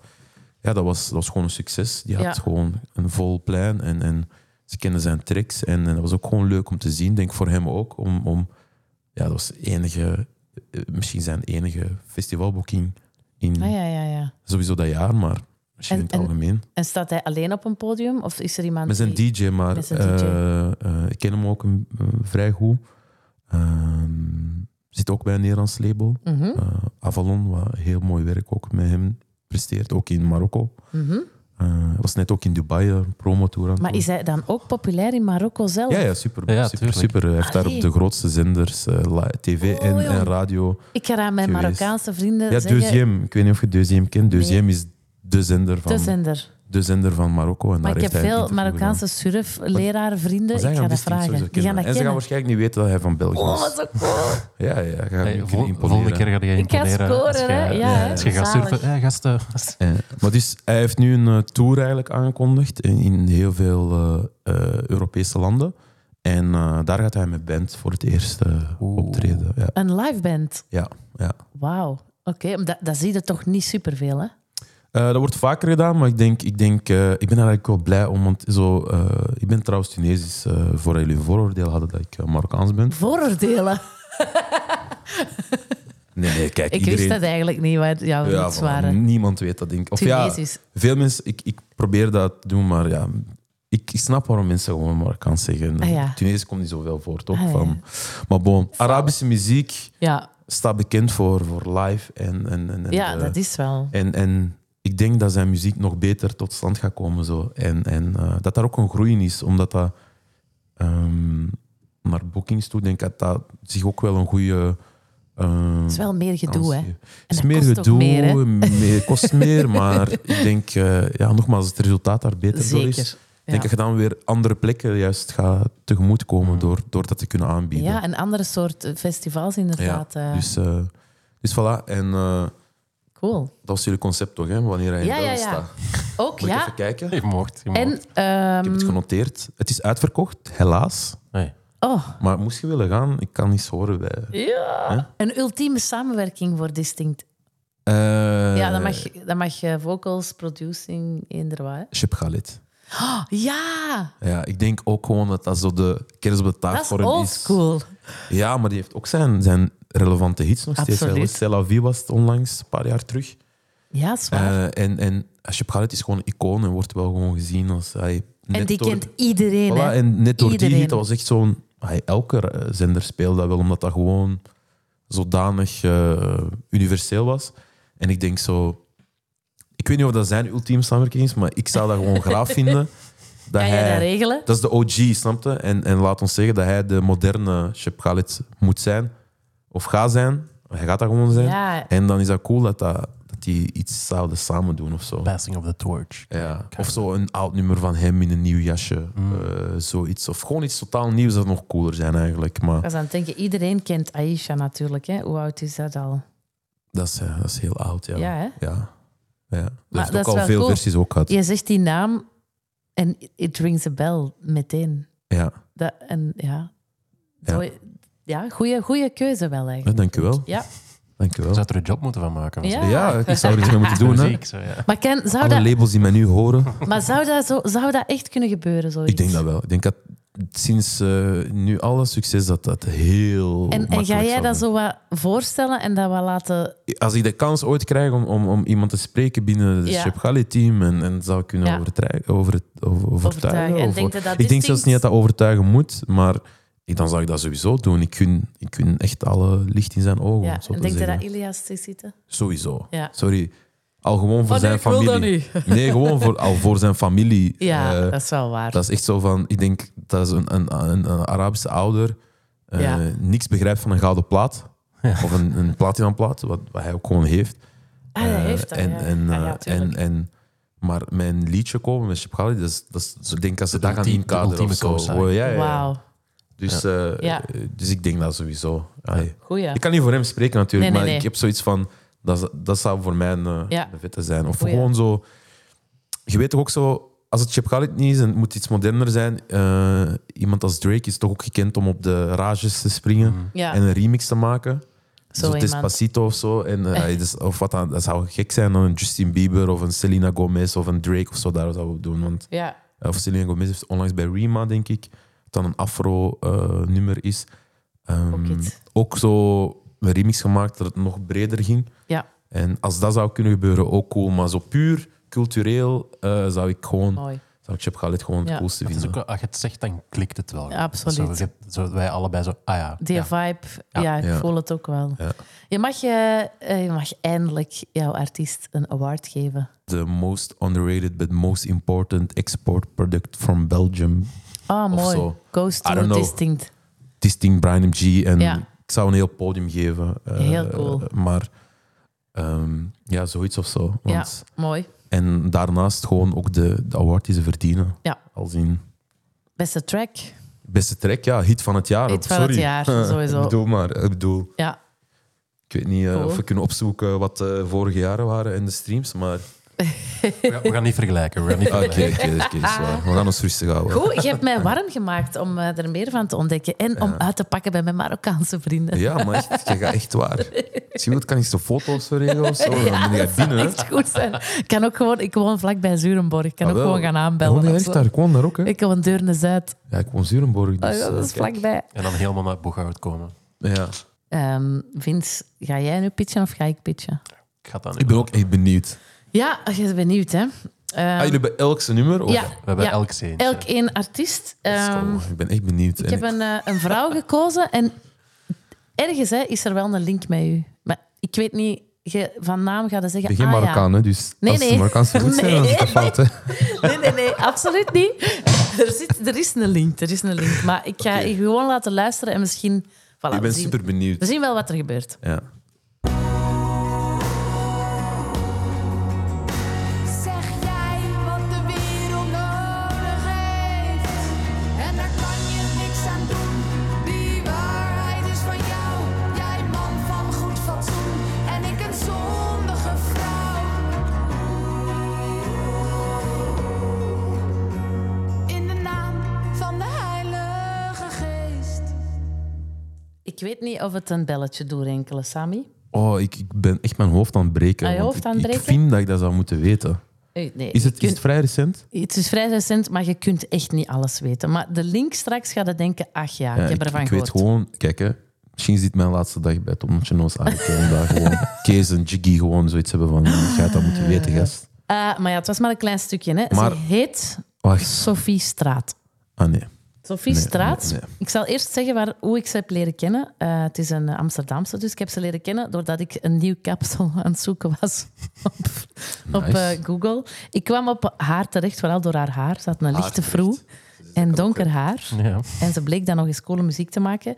S2: ja, dat was, dat was gewoon een succes. Die had
S1: Ja.
S2: gewoon een vol plein en, en ze kenden zijn tricks. En, en dat was ook gewoon leuk om te zien, denk voor hem ook. Om, om, ja, dat was enige, eh, misschien zijn enige festivalboeking in
S1: Ah, ja, ja, ja.
S2: sowieso dat jaar, maar misschien
S1: En-
S2: in het
S1: en-
S2: algemeen.
S1: En staat hij alleen op een podium? Of is er iemand
S2: Met zijn
S1: die...
S2: DJ, maar
S1: Met zijn DJ.
S2: eh, eh, ik ken hem ook een- eh, vrij goed. Ehm, zit ook bij een Nederlands label.
S1: Mhm,
S2: Eh, Avalon, wat heel mooi werk ook met hem presteert. Ook in Marokko.
S1: mhm.
S2: Eh, was net ook in Dubai, eh, een promotour aan het
S1: Maar
S2: doen.
S1: is hij dan ook populair in Marokko zelf?
S2: Ja, ja, super.
S3: Ja,
S2: super,
S3: tuurlijk.
S2: super. Hij heeft daar
S1: Allee.
S2: op de grootste zenders, eh, la- tv
S1: Oh,
S2: en,
S1: joh.
S2: en radio.
S1: Ik ga aan mijn
S2: Geweest.
S1: Marokkaanse vrienden
S2: Ja,
S1: zeggen...
S2: Deuxième. Ik weet niet of je Deuxième kent. Deuxième is de zender van,
S1: De zender.
S2: de zender van Marokko. En
S1: Maar
S2: daar
S1: ik heb
S2: heeft hij een
S1: veel
S2: interview gedaan.
S1: Marokkaanse surf, leraar, vrienden.
S2: Maar zij
S1: Ik ga dat
S2: gaan die stinkt
S1: vragen.
S2: sowieso
S1: Die gaan dat
S2: En ze gaan
S1: kennen.
S2: waarschijnlijk niet weten dat hij van België
S1: Oh,
S2: is.
S1: wat zo cool.
S2: Ja, ja, ja. Ga
S3: Hey,
S2: je
S3: vol- volgende keer ga je
S1: Ik ga
S3: imponeren. als
S1: scoren, hè?
S3: jij-
S1: Ja, hè?
S3: Als je gaat
S1: Zalig.
S3: surfen. Ja, gasten.
S2: Maar dus, hij heeft nu een eh, tour eigenlijk aangekondigd in, in heel veel eh, eh, Europese landen. En eh, daar gaat hij met band voor het eerst eh, optreden. Ja,
S1: Een live band.
S2: ja. ja.
S1: Wauw. Oké, maar dat, dat zie je toch niet superveel, hè?
S2: Eh, dat wordt vaker gedaan, maar ik denk, ik, denk, eh, ik ben eigenlijk wel blij om. Want zo, eh, ik ben trouwens Tunesisch, eh, voor jullie een vooroordeel hadden dat ik eh, Marokkaans ben.
S1: Vooroordelen.
S2: Nee, nee,
S1: Ik
S2: kijk, iedereen,
S1: wist dat eigenlijk niet, wat jouw
S2: Ja,
S1: roots
S2: voilà.
S1: waren.
S2: Niemand weet dat, denk ik. Of
S1: Tunesisch.
S2: ja, veel mensen, ik, ik probeer dat te doen, maar ja, ik, ik snap waarom mensen gewoon maar kan zeggen.
S1: Ah, ja.
S2: Tunesisch komt niet zoveel voor, toch?
S1: Ah, ja.
S2: van, maar bon, Arabische muziek,
S1: Ja,
S2: staat bekend voor, voor live en, en, en, en,
S1: ja,
S2: eh,
S1: dat is wel.
S2: en, en ik denk dat zijn muziek nog beter tot stand gaat komen. Zo. En, en eh, dat daar ook een groei in is, omdat dat ehm, naar bookings toe, denk ik dat dat zich ook wel een goede. ehm,
S1: Het is wel meer gedoe, hè.
S2: kans- Het
S1: dat
S2: is meer
S1: kost ook
S2: gedoe,
S1: meer, hè?
S2: meer- kost meer, maar ik denk, eh, ja, nogmaals, het resultaat daar beter door is.
S1: Zeker.
S2: Ik denk
S1: Ja.
S2: dat je dan weer andere plekken juist gaat tegemoetkomen door, door dat te kunnen aanbieden.
S1: Mm. ja, een andere soort eh, festivals inderdaad. eh,
S2: Dus, eh, dus voilà, en eh,
S1: cool.
S2: dat was jullie concept toch, hè? wanneer hij in
S1: Ja, ja,
S2: België
S1: ja.
S2: staat.
S1: Ook,
S2: Moet ik
S1: ja.
S2: even kijken?
S3: Je mocht. Je mocht.
S1: En, ehm,
S2: Ik heb het genoteerd. Het is uitverkocht, helaas.
S3: Nee.
S1: oh,
S2: Maar moest je willen gaan, ik kan niets horen bij...
S1: ja. Een ultieme samenwerking voor Distinct.
S2: Eh,
S1: Ja, dan mag, dan mag je vocals, producing, eender wat. hè.
S2: Chip Khalid. Ah.
S1: Ja,
S2: Ja, ik denk ook gewoon dat dat zo de kerst op de taart
S1: dat is
S2: voor hem
S1: old
S2: is.
S1: school.
S2: Ja, maar die heeft ook zijn, zijn relevante hits nog steeds.
S1: Absoluut.
S2: hè. Stella V was het onlangs, een paar jaar terug.
S1: Ja, dat is waar.
S2: Eh, en, en Ashab Khalid is gewoon een icoon en wordt wel gewoon gezien als eh, hij...
S1: en
S2: net
S1: die
S2: door-
S1: kent iedereen.
S2: Voilà,
S1: hè.
S2: en net door die
S1: Iedereen.
S2: hit, dat was echt zo'n... Hij, elke eh, zender speelde dat wel, omdat dat gewoon zodanig eh, universeel was. En ik denk zo... Ik weet niet of dat zijn ultieme samenwerking is, maar ik zou dat gewoon graag vinden. Dat
S1: Kan je dat
S2: hij,
S1: regelen?
S2: dat is de OG, snapte? En, en laat ons zeggen dat hij de moderne Shep Khalid moet zijn. Of gaat zijn. Hij gaat dat gewoon zijn.
S1: Ja,
S2: En dan is dat cool dat, dat, dat die iets zouden samen doen of zo.
S3: Passing of the torch.
S2: Ja. Of zo een oud nummer van hem in een nieuw jasje. eh, zoiets. Of gewoon iets totaal nieuws dat nog cooler zijn eigenlijk.
S1: ik
S2: Maar
S1: was aan het denken, iedereen kent Aisha natuurlijk. Hè. Hoe oud is dat al?
S2: dat is, ja, dat is heel oud, ja.
S1: Ja, hè?
S2: ja. Ja. Er heeft
S1: dat
S2: ook
S1: is
S2: al
S1: wel
S2: veel
S1: cool.
S2: versies ook gehad.
S1: Je zegt die naam en it rings a bell meteen.
S2: Ja.
S1: Dat, en ja,
S2: Ja.
S1: Zo- ja goede, goede keuze wel
S2: Ja,
S1: eigenlijk.
S2: dankjewel.
S1: Ja.
S2: Dankjewel.
S3: Zou er een job moeten van maken?
S1: Ja.
S2: Ja, ik zou er iets mee moeten
S3: Doen,
S2: doen. Hè.
S3: muziek, zo, ja.
S1: Maar, Ken, zou,
S2: Alle
S1: Nou, dat,
S2: labels die mij nu horen,
S1: maar zou, dat zo, zou dat echt kunnen gebeuren? Zoiets?
S2: ik denk dat wel. Ik denk dat sinds eh, nu alle succes dat dat heel
S1: En, en
S2: makkelijk
S1: ga jij
S2: zou
S1: dat zo
S2: zijn.
S1: wat voorstellen en dat wat laten...
S2: Als ik de kans ooit krijg om, om, om iemand te spreken binnen het
S1: Ja.
S2: Shep team en, en zou ik kunnen
S1: Ja.
S2: overtrij- over, over, overtuigen.
S1: Overtuigen. En
S2: of-
S1: denk je dat
S2: ik denk
S1: distinct-
S2: zelfs niet dat dat overtuigen moet, maar ik, dan zou ik dat sowieso doen. Ik kun, ik kun echt alle licht in zijn ogen. om
S1: Ja,
S2: zo
S1: en
S2: te
S1: denk je
S2: zeggen.
S1: dat Ilias te zitten?
S2: Sowieso.
S1: Ja.
S2: Sorry. Al gewoon voor
S1: Oh, nee,
S2: zijn
S1: ik wil
S2: familie.
S1: dat niet.
S2: Nee, gewoon voor, al voor zijn familie.
S1: Ja,
S2: Eh,
S1: dat is wel waar.
S2: dat is echt zo van, ik denk dat is een, een, een, een Arabische ouder eh,
S1: Ja.
S2: niks begrijpt van een gouden plaat. Of een, een platinumplaat, wat, wat hij ook gewoon heeft.
S1: ah, dat
S2: Eh,
S1: heeft dat,
S2: en,
S1: ja.
S2: en,
S1: Ah,
S2: eh,
S1: ja, tuurlijk.
S2: en, en, maar mijn liedje komen met Chip Khalid, dat is, dat is, ik denk dat ze
S3: De
S2: daar gaan
S3: ultieme-
S2: inkaderen
S3: de
S2: of zo.
S3: ultieme
S2: Oh, ja, ja, ja.
S1: Wauw,
S2: Dus, eh,
S1: Ja.
S2: eh, dus ik denk dat sowieso. Allee.
S1: goeie.
S2: Ik kan niet voor hem spreken
S1: Nee, nee,
S2: natuurlijk, maar
S1: nee.
S2: ik heb zoiets van... Dat, is- dat zou voor mij een, eh,
S1: Ja.
S2: een vette zijn. Of
S1: Goeie.
S2: gewoon zo... Je weet toch ook zo... Als het Chip Khalid niet is en het moet iets moderner zijn... eh, iemand als Drake is toch ook gekend om op de rages te springen
S1: Ja,
S2: en een remix te maken. Dus
S1: Zo
S2: Zo,
S1: iemand.
S2: Despacito of zo. En, eh, dus- of wat dan, dat zou gek zijn dan een Justin Bieber of een Selena Gomez of een Drake of zo. Daar zouden we doen. Want, eh,
S1: ja.
S2: of Selena Gomez heeft onlangs bij Rima, denk ik, dat een afro-nummer is. Ehm,
S1: Ook iets.
S2: ook zo een remix gemaakt dat het nog breder ging.
S1: ja.
S2: En als dat zou kunnen gebeuren, ook cool. Maar zo puur cultureel eh, zou ik gewoon...
S1: mooi.
S2: Zou ik Chip Khalid gewoon
S1: Ja.
S2: het coolste
S3: Het is
S2: vinden.
S3: ook wel- als je het zegt, dan klikt het wel.
S1: Ja, absoluut.
S3: Zo, je- zo, wij allebei zo, ah ja.
S1: Die
S3: ja.
S1: vibe, ja,
S3: Ja.
S1: ik
S2: Ja.
S1: voel het ook wel.
S2: Ja.
S1: Je, mag, eh, eh, je mag eindelijk jouw artiest een award geven.
S2: The most underrated but most important export product from Belgium.
S1: Oh,
S2: Of
S1: mooi.
S2: zo.
S1: Goes
S2: I
S1: to
S2: don't know.
S1: Distinct.
S2: Distinct Brian MG. En
S1: Ja.
S2: ik zou een heel podium geven. eh,
S1: Heel cool.
S2: Maar ehm, ja, zoiets of zo. Want,
S1: Mooi.
S2: En daarnaast gewoon ook de, de award die ze verdienen.
S1: Ja.
S2: Als in
S1: Beste track.
S2: beste track, ja, hit van het jaar.
S1: Hit van
S2: Sorry.
S1: het jaar, sowieso.
S2: ik bedoel maar, ik bedoel...
S1: Ja,
S2: Ik weet niet eh,
S1: Cool.
S2: of we kunnen opzoeken wat de vorige jaren waren in de streams, maar...
S3: We, gaan, we gaan niet vergelijken. We gaan niet
S2: Ah, Oké,
S3: vergelijken.
S2: oké, oké, dat is waar. We gaan ons rustig houden.
S1: goed. Je hebt mij warm gemaakt om eh, er meer van te ontdekken en om uit te pakken bij mijn Marokkaanse vrienden.
S2: Ja, maar echt, je gaat echt waar. Als je wilt, kan ik zo foto's regelen of zo. Dan ben je binnen. hè.
S1: Echt goed zijn. Ik kan ook gewoon, ik woon vlakbij Zurenborg. Ik kan
S2: Ah,
S1: ook
S2: wel.
S1: gewoon gaan aanbellen.
S2: Woon je
S1: of
S2: echt
S1: zo.
S2: daar? Ik woon daar ook, hè?
S1: Ik woon deur naar Zuid.
S2: Ja, ik woon Zurenborg,
S1: Oh,
S2: dus...
S1: ja, dat
S2: eh,
S1: is
S2: kijk.
S1: vlakbij.
S3: En dan helemaal naar Boeghout komen.
S2: Ja.
S1: Ehm Vince, ga jij nu pitchen of ga ik pitchen?
S3: Ik ga het dan
S2: Ik ben ook echt benieuwd.
S1: Ja, je bent benieuwd, hè? Ehm,
S2: Ah, jullie hebben elk zijn nummer? Of?
S1: ja,
S3: We hebben
S1: ja.
S3: elk zin.
S1: Elk één artiest.
S2: Dat is
S1: Ehm,
S2: cool. Ik ben echt benieuwd.
S1: ik
S2: En
S1: heb een, eh, een vrouw gekozen en ergens hè, is er wel een link met u. Maar ik weet niet, je van naam gaat zeggen...
S6: Begin
S1: ah, ja.
S6: Marokkaan, hè, dus
S1: Nee,
S6: als
S1: nee.
S6: de Marokkaanse goed zijn, dan is dat
S1: Nee.
S6: fout. Hè.
S1: Nee, nee, nee, absoluut niet. Er, zit, er is een link, er is een link. Maar ik ga je gewoon laten luisteren en misschien... Voilà,
S2: Ik
S1: we,
S2: ben
S1: zien,
S2: super
S1: we
S2: benieuwd.
S1: zien wel wat er gebeurt.
S2: Ja.
S7: Zeg jij wat de wereld nodig heeft? En daar kan je niks aan doen. Die waarheid is van jou. Jij man van goed fatsoen. En ik een zondige vrouw. In de naam van de Heilige Geest.
S1: Ik weet niet of het een belletje doorrenkelen, Sammy.
S2: Oh, ik, ik ben echt mijn hoofd aan het breken.
S1: Ah, je
S2: want
S1: hoofd
S2: ik-
S1: aan het
S2: Ik
S1: breken?
S2: vind dat ik dat zou moeten weten.
S1: Eh, Nee,
S2: Is
S1: je
S2: het, is het
S1: kunt-
S2: vrij recent?
S1: het is vrij recent, maar je kunt echt niet alles weten. Maar de link straks gaat het denken, ach ja,
S2: Ja,
S1: ik heb
S2: ik,
S1: ervan
S2: ik
S1: gehoord.
S2: weet gewoon, kijk hè, misschien is dit mijn laatste dag bij Tom Noos aangekomen. daar gewoon Kees en Jiggy gewoon zoiets hebben van, je gaat dat moeten weten, gast.
S1: Eh, maar ja, het was maar een klein stukje. Hè.
S2: Maar-
S1: Ze heet
S2: Wacht,
S1: Sophie Straat.
S2: ah nee.
S1: Sophie
S2: Nee,
S1: Straat.
S2: nee, nee.
S1: Ik zal eerst zeggen waar, hoe ik ze heb leren kennen. Eh, het is een eh, Amsterdamse, dus ik heb ze leren kennen doordat ik een nieuw kapsel aan het zoeken was op, op
S2: Nice.
S1: eh, Google. Ik kwam op haar terecht, vooral door haar haar. Ze had een lichte
S2: terecht.
S1: vroeg en donker haar.
S3: Ja.
S1: En ze bleek dan nog eens coole muziek te maken.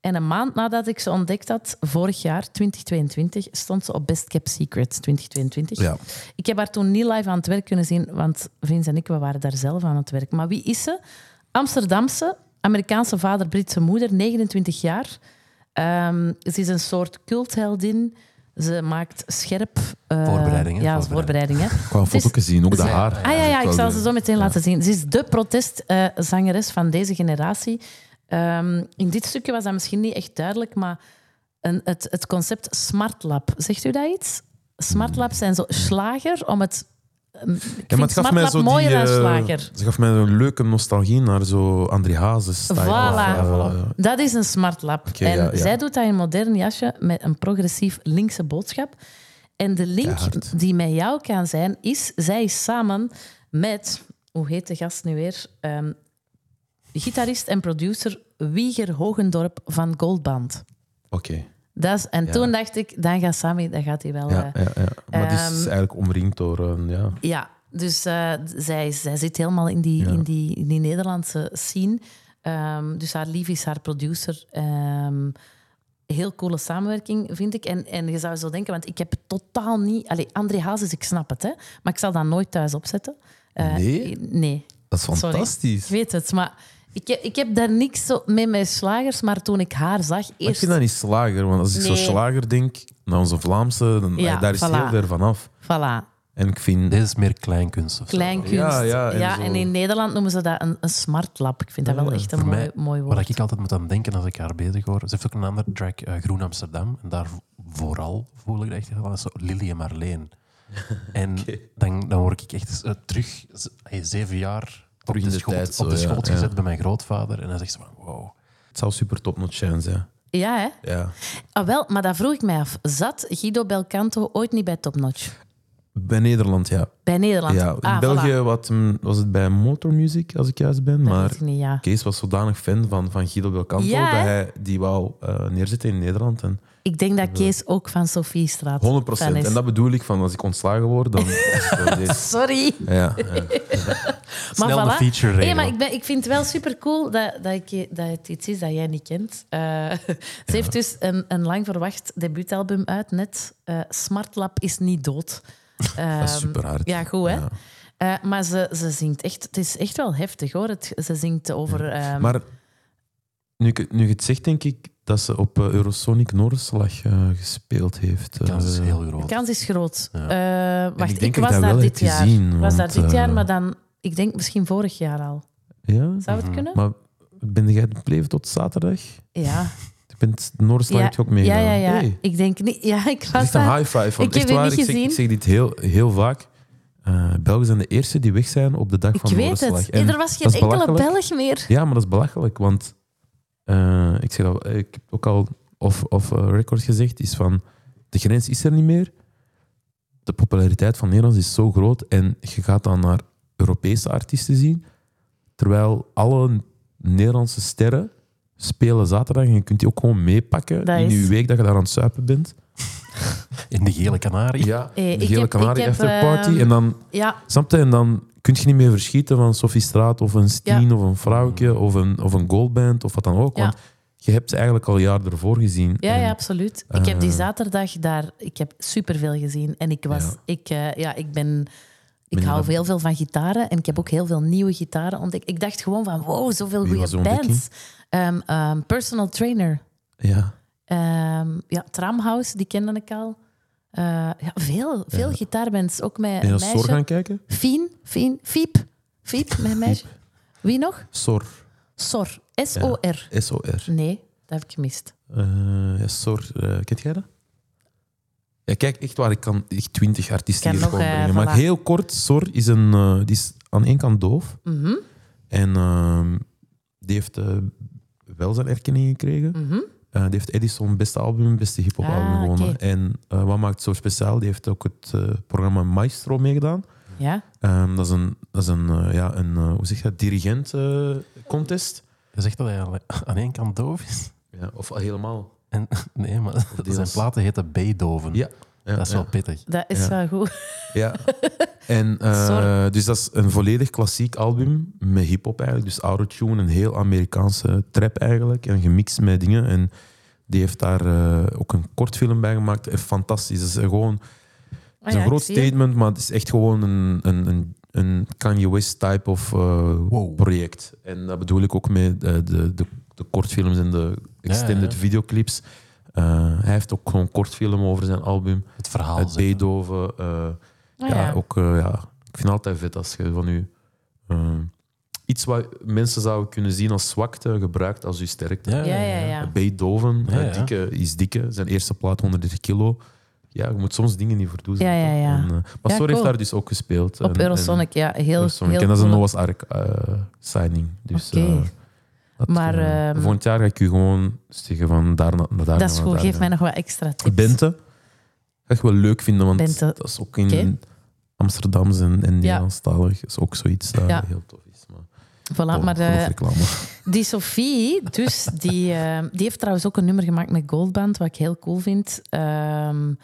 S1: En een maand nadat ik ze ontdekt had, vorig jaar, 2022, stond ze op Best Kept Secrets 2022.
S2: Ja.
S1: Ik heb haar toen niet live aan het werk kunnen zien, want Vince en ik we waren daar zelf aan het werk. Maar wie is ze? Amsterdamse, Amerikaanse vader, Britse moeder, 29 jaar. Ehm, ze is een soort cultheldin. Ze maakt scherp... eh,
S3: Voorbereidingen,
S1: Ja,
S3: voorbereidingen.
S1: voorbereidingen.
S2: Ik kwam een
S1: Het is-
S2: foto gezien, ook de
S1: Ze-
S2: haar.
S1: Ah ja, ja ik zal ze zo meteen
S2: Ja.
S1: laten zien. Ze is de protestzangeres van deze generatie. Ehm, in dit stukje was dat misschien niet echt duidelijk, maar een, het, het concept Smart Lab, zegt u dat iets? Smart Lab zijn zo slager om het... ehm, Ik
S2: Hmm. Ja,
S1: vind
S2: maar het gaf
S1: Smart
S2: mij
S1: Lab
S2: zo die,
S1: mooier dan
S2: eh,
S1: slager.
S2: Ze gaf mij een leuke nostalgie naar zo André Hazes. eh, style.
S1: Voilà.
S2: Ja, voilà.
S1: Dat is een smart lab.
S2: Oké,
S1: en
S2: ja, ja.
S1: zij doet dat in een modern jasje met een progressief linkse boodschap. En de link
S2: Keihard.
S1: die met jou kan zijn, is zij is samen met, hoe heet de gast nu weer? Ehm, gitarist en producer Wieger Hogendorp van Goldband.
S2: Oké.
S1: Dat is, en
S2: Ja.
S1: toen dacht ik, dan gaat Sammy, dan gaat hij wel. eh,
S2: Ja, ja, ja. Maar die
S1: Ehm,
S2: is eigenlijk omringd door een, ja.
S1: ja, dus eh, d- zij, is- zij zit helemaal in die,
S2: Ja.
S1: in die, in die Nederlandse scene. Ehm, dus haar lief is haar producer. Ehm, heel coole samenwerking, vind ik. En, en je zou zo denken, want ik heb totaal niet... Allee, André Hazes, ik snap het, hè. Maar ik zal dat nooit thuis opzetten. Eh,
S2: Nee?
S1: Nee.
S2: Dat is
S1: sorry.
S2: fantastisch.
S1: Ik weet het, maar ik heb, ik heb daar niks zo mee met slagers. Maar toen ik haar zag,
S2: Maar ik
S1: eerst...
S2: vind dat niet slager, want als ik zo
S1: Nee.
S2: slager denk, naar onze Vlaamse, dan,
S1: Ja,
S2: daar is het
S1: voilà.
S2: heel ver vanaf.
S1: Voilà,
S2: En ik vind...
S3: Deze is meer kleinkunst. of zo.
S1: kleinkunst.
S2: Ja,
S1: Ja,
S2: ja, en
S1: en,
S2: zo.
S1: in Nederland noemen ze dat een, een smart lab. Ik vind dat wel
S2: Ja,
S1: echt een
S3: Voor
S1: mooi,
S3: mij,
S1: mooi woord.
S3: waar ik altijd moet aan denken als ik haar bezig hoor. Ze heeft ook een ander track, eh, Groen Amsterdam. En daar vooral voel ik dat echt heel van, dat is zo Lily en Marleen. En dan, dan word ik echt eh, terug, z- hey, zeven jaar, op
S2: in
S3: de,
S2: de
S3: school,
S2: tijd zo,
S3: op de
S2: ja,
S3: schoot
S2: ja.
S3: gezet bij mijn grootvader. En dan zegt ze van, wow.
S2: Het zou super topnotch zijn, ja.
S1: Ja, hè?
S2: ja.
S1: Ah, wel, maar dat vroeg ik mij af. Zat Guido Belcanto ooit niet bij Topnotch?
S2: Bij Nederland, ja.
S1: Bij Nederland?
S2: ja in
S1: Ah,
S2: België
S1: voilà.
S2: wat, mm, was het bij Motor Music, als ik juist ben.
S1: Dat
S2: maar
S1: weet ik niet, ja.
S2: Kees was zodanig fan van, van Guido Belcanto
S1: Ja,
S2: dat
S1: hè?
S2: hij die wou eh, neerzetten in Nederland. En
S1: Ik denk dat Kees ook van Sophie Straat
S2: 100
S1: fan is.
S2: En dat bedoel ik van als ik ontslagen word, dan. is het wel deze.
S1: Sorry.
S2: ja, ja.
S1: Maar
S3: Snel de
S1: voilà.
S3: feature regelen.
S1: Nee, maar ik, ben, ik vind het wel supercool dat, dat, ik, je- dat het iets is dat jij niet kent. Eh, ze heeft dus een, een lang verwacht debuutalbum uit, net. eh Smart Lab is niet dood. Ehm,
S2: dat is super hard.
S1: Ja, goed hè?
S2: Ja.
S1: Eh, maar ze, ze zingt echt, het is echt wel heftig hoor. Het, ze zingt over. ehm,
S2: Maar nu, ik- nu je het zegt, denk ik dat ze op eh, Eurosonic Noorderslag eh, gespeeld heeft.
S3: De kans is
S2: Eh,
S3: heel
S1: De
S3: groot.
S1: kans is groot.
S3: Ja.
S1: Eh,
S2: en
S1: wacht,
S2: ik
S1: ik,
S2: denk dat ik
S1: was
S2: dat
S1: daar
S2: wel
S1: dit
S2: heb
S1: jaar.
S2: gezien.
S1: Ik was daar
S2: want,
S1: dit jaar,
S2: eh,
S1: maar dan, ik denk misschien vorig jaar al.
S2: Ja,
S1: Zou het kunnen?
S2: Mhm. maar ben jij gebleven tot zaterdag?
S1: Ja.
S2: Ik ben het Noorderslag
S1: ja.
S2: heb je ook meegedaan.
S1: ja, ja, ja.
S2: Hey.
S1: Ik denk niet. Ja, ik
S2: Het is
S1: was
S2: echt een
S1: daar.
S2: high five. Want
S1: Ik heb
S2: echt
S1: het
S2: waar,
S1: niet
S2: ik, zeg,
S1: gezien.
S2: ik zeg dit heel, heel vaak. Eh, Belgen zijn de eerste die weg zijn op de dag
S1: Ik
S2: van
S1: weet
S2: Noorderslag.
S1: het.
S2: En
S1: Ja, er was geen
S2: dat is
S1: enkele
S2: belachelijk.
S1: Belg meer.
S2: Ja, maar dat is belachelijk, want eh, ik, zeg dat, ik heb ook al off, off eh, record gezegd, is van de grens is er niet meer. De populariteit van Nederlands is zo groot en je gaat dan naar Europese artiesten zien, terwijl alle Nederlandse sterren spelen zaterdag en je kunt die ook gewoon meepakken
S1: Dat
S2: in
S1: is-
S2: je week dat je daar aan het suipen bent.
S3: In de gele kanarie.
S2: Ja,
S1: Eh, ik
S2: de hele
S1: heb-
S2: Canarie
S1: ik heb,
S2: afterparty.
S1: ehm,
S2: En dan,
S1: Ja,
S2: snap je, en dan kun je niet meer verschieten van Sophie Straat of een Steen of een Vrouwke of een, of een Goldband of wat dan ook.
S1: Ja.
S2: Want je hebt ze eigenlijk al een jaar ervoor gezien.
S1: ja,
S2: En
S1: ja, absoluut. Ik heb die
S2: eh,
S1: zaterdag daar... Ik heb superveel gezien. En ik was...
S2: Ja.
S1: Ik, eh, ja, ik ben... Ik
S2: Ben je
S1: hou
S2: dan-
S1: heel veel van gitaren en ik heb ook heel veel nieuwe gitaren ontdekt. Ik dacht gewoon van, wow, zoveel
S2: Wie was
S1: goede
S2: de ontdekking?
S1: bands. Ehm, ehm, personal trainer. Eh,
S2: ja.
S1: Ehm, ja, Tramhouse, die kende ik al. Eh, ja, veel, veel gitaarbands. Ook met
S2: Ben je
S1: een
S2: naar Sor
S1: meisje.
S2: gaan kijken?
S1: Fien, Fien, Fiep. Fiep, mijn meisje. Wie nog?
S2: Sor.
S1: Sor. S-O-R.
S2: S-O-R.
S1: Nee, dat heb ik gemist.
S2: Eh, ja, Sor. eh, kent jij dat? Ja, kijk, echt waar, ik kan echt twintig artiesten
S1: Ik
S2: hier
S1: ken
S2: gewoon
S1: nog, eh,
S2: brengen. maar
S1: voilà.
S2: heel kort, Sor is, een, eh, die is aan één kant doof.
S1: Mhm,
S2: En ehm, die heeft eh, wel zijn erkenning gekregen.
S1: mhm.
S2: Eh, die heeft Edison beste album, beste hip-hop album
S1: Ah,
S2: gewonnen.
S1: oké.
S2: En eh, wat maakt het zo speciaal? Die heeft ook het eh, programma Maestro meegedaan.
S1: Ja,
S2: Ehm, dat is een, dat is een, eh, ja, een eh, hoe zeg je dat, dirigent eh, contest.
S3: Je zegt dat hij aan- aan één kant doof is.
S2: Ja, of helemaal.
S3: En, nee, maar
S2: deels.
S3: zijn platen heten B-doven.
S2: Ja. Ja,
S3: Dat is
S2: ja.
S3: wel pittig.
S1: dat is
S2: Ja.
S1: wel goed.
S2: Ja. En, eh,
S1: Sorry.
S2: dus dat is een volledig klassiek album met hip-hop eigenlijk. Dus autotune, een heel Amerikaanse trap eigenlijk. En gemixt met dingen. En die heeft daar eh, ook een kort film bij gemaakt. Eh, Fantastisch. Dat is gewoon
S1: Ah
S2: het is
S1: ja,
S2: een groot
S1: ik zie het.
S2: statement, maar het is echt gewoon een, een, een, een Kanye West type of eh, project. En dat bedoel ik ook met eh, de, de, de kortfilms en de extended
S3: ja.
S2: videoclips. Eh, hij heeft ook gewoon kortfilm over zijn album.
S3: Het verhaal.
S2: Uit
S3: zeg.
S2: Beethoven. eh,
S1: Ah
S2: ja,
S1: ja.
S2: ook, eh, ja, ik vind het altijd vet als je van je... eh, iets wat mensen zouden kunnen zien als zwakte, gebruikt als je sterkte.
S3: Ja,
S1: Ja, ja, ja.
S2: Beethoven
S3: Ja,
S2: eh,
S3: ja.
S2: Dikke, is dikke, zijn eerste plaat 130 kilo. Ja, je moet soms dingen niet voor doen.
S1: Ja, ja,
S2: toch?
S1: ja.
S2: En, eh, maar Sor
S1: cool.
S2: heeft daar dus ook gespeeld. En-
S1: Op
S2: en
S1: Eurosonic, ja. Heel,
S2: Eurosonic.
S1: heel
S2: en dat is een
S1: cool.
S2: Noah's Ark eh, signing. Dus,
S1: Oké.
S2: eh, dat,
S1: Maar,
S2: eh,
S1: ehm,
S2: volgend jaar ga ik u gewoon zeggen van daar naar daar. eh,
S1: Dat is goed. Geef mij nog wat extra tips.
S2: Bente. Ga ik wel leuk vinden, want
S1: Bente.
S2: dat is ook in
S1: Oké.
S2: Amsterdams en, en
S1: Ja.
S2: Nederlandstalig. Dat is ook zoiets dat
S1: Ja.
S2: heel tof is. Maar,
S1: Voilà,
S2: oh,
S1: maar
S2: genoeg
S1: eh,
S2: reclame.
S1: Die Sophie, dus, die, eh, die heeft trouwens ook een nummer gemaakt met Goldband, wat ik heel cool vind. Ehm,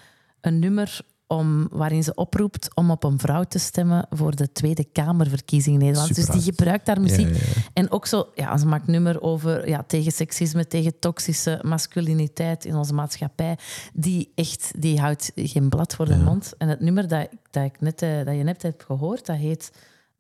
S1: een nummer om, waarin ze oproept om op een vrouw te stemmen voor de Tweede Kamerverkiezing in Nederland.
S2: Super
S1: dus die
S2: hard.
S1: gebruikt daar
S2: Ja,
S1: muziek.
S2: ja, ja.
S1: En ook zo, ja, ze maakt nummer over ja, tegen seksisme, tegen toxische masculiniteit in onze maatschappij. Die echt, die houdt geen blad voor de mond. En het nummer dat, dat, ik net, eh, dat je net hebt gehoord, dat heet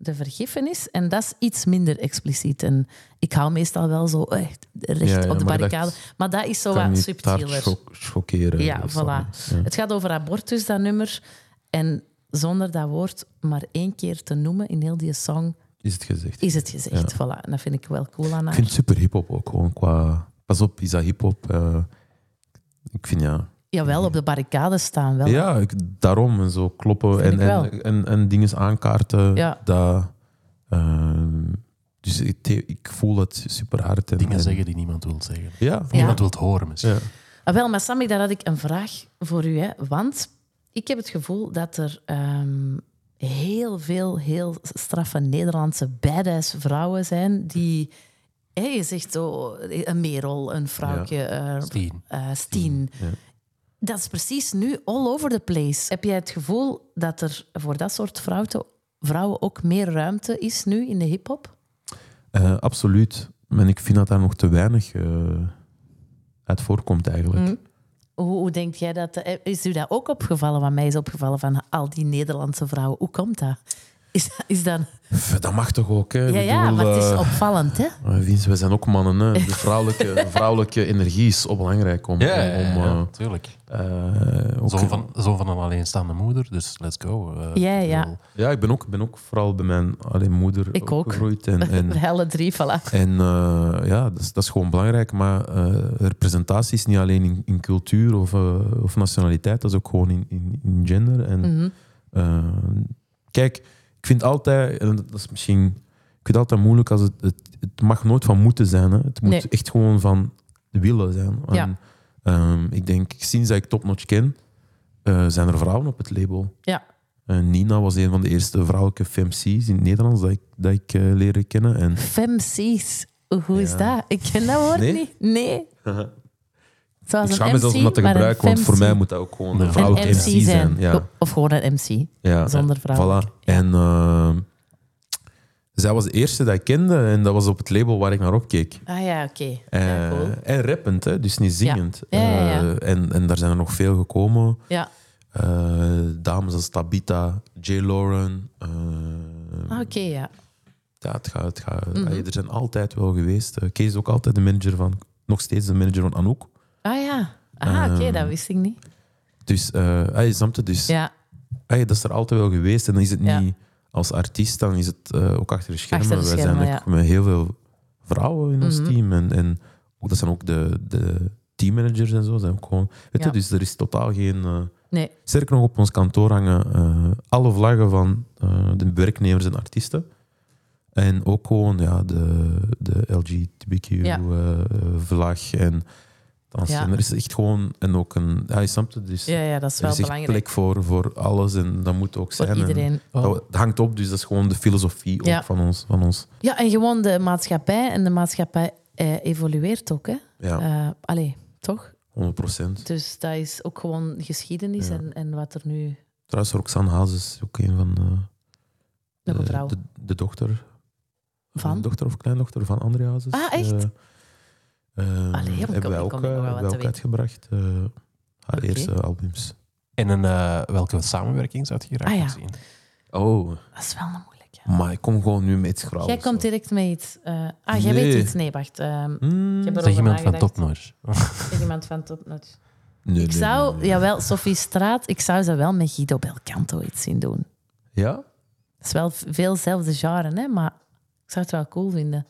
S1: De Vergiffenis. En dat is iets minder expliciet. En ik hou meestal wel zo echt recht
S2: Ja, ja,
S1: op de
S2: maar dat
S1: barricade. maar dat is zo
S2: kan
S1: wat
S2: niet te hard
S1: subtieler.
S2: choc- chockeren.
S1: Ja,
S2: Dus
S1: voilà.
S2: dan, ja.
S1: Het gaat over abortus, dat nummer. En zonder dat woord maar één keer te noemen in heel die song,
S2: Is het gezegd.
S1: is het gezegd. Voilà. En dat vind ik wel cool aan
S2: Ik
S1: haar.
S2: vind het super hip-hop ook gewoon qua. Pas op, is dat hip-hop? eh, ik vind ja.
S1: Jawel, op de barricade staan wel.
S2: Ja, ik, daarom en zo kloppen
S1: Vind
S2: en,
S1: ik wel.
S2: en, en, en dingen aankaarten.
S1: Ja.
S2: Dat, ehm, dus ik, ik voel het super hard. En,
S3: Dingen
S2: en-
S3: zeggen die niemand wil zeggen.
S2: Ja,
S1: Ja.
S3: Niemand wil het horen misschien.
S2: Ja.
S1: Ah, wel, maar Sammy, daar had ik een vraag voor u. Hè? Want ik heb het gevoel dat er ehm, heel veel, heel straffe Nederlandse badass vrouwen zijn die... Hè, je zegt zo, een Merel, een vrouwtje, eh,
S3: Steen.
S1: eh, Stien.
S2: ja.
S1: Dat is precies nu all over the place. Heb jij het gevoel dat er voor dat soort vrouwte- vrouwen ook meer ruimte is nu in de hip-hop?
S2: Eh, absoluut. En ik vind dat daar nog te weinig eh, uit voorkomt eigenlijk.
S1: Mhm. Hoe, hoe denk jij dat? eh, Is u dat ook opgevallen? Wat mij is opgevallen van al die Nederlandse vrouwen. Hoe komt dat? Is dat, is dat...
S2: Pff, Dat mag toch ook, hè? Ik
S1: Ja, ja,
S2: bedoel,
S1: maar het is
S2: eh,
S1: opvallend, hè?
S2: eh, Vince, we zijn ook mannen, hè? De vrouwelijke, de vrouwelijke energie is ook belangrijk om... om, eh,
S3: tuurlijk.
S2: eh, ook-
S3: Zoon van, zoon van een alleenstaande moeder, dus let's go. Eh,
S1: Ja,
S3: ik
S1: ja.
S3: bedoel,
S2: Ja, ik ben ook, ben ook vooral bij mijn alleen moeder
S1: Ik ook.
S2: opgegroeid. En, en,
S1: Bij alle drie, voilà.
S2: en eh, ja, dat is, dat is gewoon belangrijk. Maar eh, representatie is niet alleen in, in cultuur of, eh, of nationaliteit. Dat is ook gewoon in, in, in gender. En
S1: Mhm.
S2: Eh, kijk, ik vind altijd, en dat is misschien, ik vind het altijd moeilijk als het, het, het mag nooit van moeten zijn. Hè. Het moet
S1: Nee.
S2: echt gewoon van willen zijn.
S1: Ja.
S2: En, ehm, ik denk, sinds dat ik Topnotch ken, eh, zijn er vrouwen op het label.
S1: Ja.
S2: En Nina was een van de eerste vrouwelijke FMC's in het Nederlands dat ik, dat ik eh leerde kennen. En
S1: Femcies. Hoe is dat? Ik ken dat woord
S2: Nee?
S1: niet. Nee. Zoals
S2: Ik
S1: een
S2: schaam me
S1: MC,
S2: zelfs om dat te
S1: maar een
S2: gebruiken, want voor
S1: femc.
S2: mij moet dat ook gewoon een
S3: Een
S1: een
S2: vrouwelijk
S1: MC zijn.
S2: Ja.
S1: Of gewoon een MC.
S2: Ja.
S1: Zonder vrouwelijk.
S2: Voilà. En ehm, zij was de eerste dat ik kende en dat was op het label waar ik naar opkeek.
S1: Ah ja, oké.
S2: Eh,
S1: Ja, cool.
S2: En rappend, hè, dus niet zingend.
S1: Ja, ja, ja.
S2: Eh, en, en daar zijn er nog veel gekomen.
S1: Ja.
S2: Eh, dames als Tabita, J. Lauren. eh,
S1: Ah, Mhm. Oké, ja.
S2: ja, het gaat, het gaat, Allee, er zijn altijd wel geweest. Eh, Kees is ook altijd de manager van, nog steeds de manager van Anouk.
S1: Ah ja. Ah, oké,
S2: Ehm.
S1: dat wist ik niet.
S2: Dus, eh allee, snap je? Dus
S1: Ja,
S2: Hey, dat is er altijd wel geweest. En dan is het
S1: Ja.
S2: niet als artiest, dan is het eh, ook achter de schermen.
S1: Achter de
S2: Wij
S1: schermen, Mhm.
S2: zijn ook met heel veel vrouwen in ons team. En, en ook, dat zijn ook de, de teammanagers en zo. Zijn ook gewoon, weet je,
S1: Ja.
S2: dus er is totaal geen. eh,
S1: nee.
S2: sterker nog, op ons kantoor hangen eh, alle vlaggen van eh, de werknemers en artiesten. En ook gewoon ja, de, de
S1: Ja.
S2: LGBTQ-vlag. eh, en dan
S1: Ja.
S2: zijn- er is echt gewoon. En ook een. Ja, je snapt het, dus
S1: Ja, ja, dat is
S2: er
S1: wel
S2: is echt
S1: belangrijk
S2: plek voor, voor alles en dat moet ook
S1: voor
S2: zijn. En
S1: iedereen. Oh.
S2: dat hangt op, dus dat is gewoon de filosofie ook
S1: Ja.
S2: van ons. Van ons.
S1: Ja, en gewoon de maatschappij. En de maatschappij eh, evolueert ook, hè.
S2: Ja,
S1: Eh, allee, toch?
S2: 100 procent.
S1: Dus dat is ook gewoon geschiedenis
S2: Ja.
S1: en, en wat er nu...
S2: Trouwens, Roxanne Haas is ook een van de,
S1: Nog een
S2: de-
S1: vrouw.
S2: de, de dochter.
S1: Van?
S2: Dochter of kleindochter van André Hazes.
S1: Ah, echt?
S2: Eh, eh,
S1: Allee, ik kom- ik
S2: hebben wij
S1: kom
S2: ook,
S1: nog
S2: eh,
S1: wel wat
S2: hebben wij
S1: te
S2: ook
S1: weten.
S2: uitgebracht. eh, haar
S1: Oké.
S2: eerste albums.
S3: En een, eh, welke samenwerking zou je graag
S1: Ah, ja.
S3: zien?
S2: Oh,
S1: Dat is wel een moeilijke.
S2: maar ik kom gewoon nu met iets grauws.
S1: Jij komt direct met iets. eh, ah, jij
S2: Nee.
S1: weet iets. Nee, wacht. ehm
S2: Hmm,
S1: ik heb
S3: Zeg
S1: erover
S3: iemand van
S1: nagedacht.
S3: Topnotch.
S1: Ik ben iemand van Topnotch.
S2: nee, nee,
S1: Ik
S2: nee,
S1: zou,
S2: nee.
S1: jawel, Sophie Straat, ik zou ze wel met Guido Belcanto iets zien doen.
S2: Ja?
S1: Het is wel veelzelfde genre, hè, maar ik zou het wel cool vinden.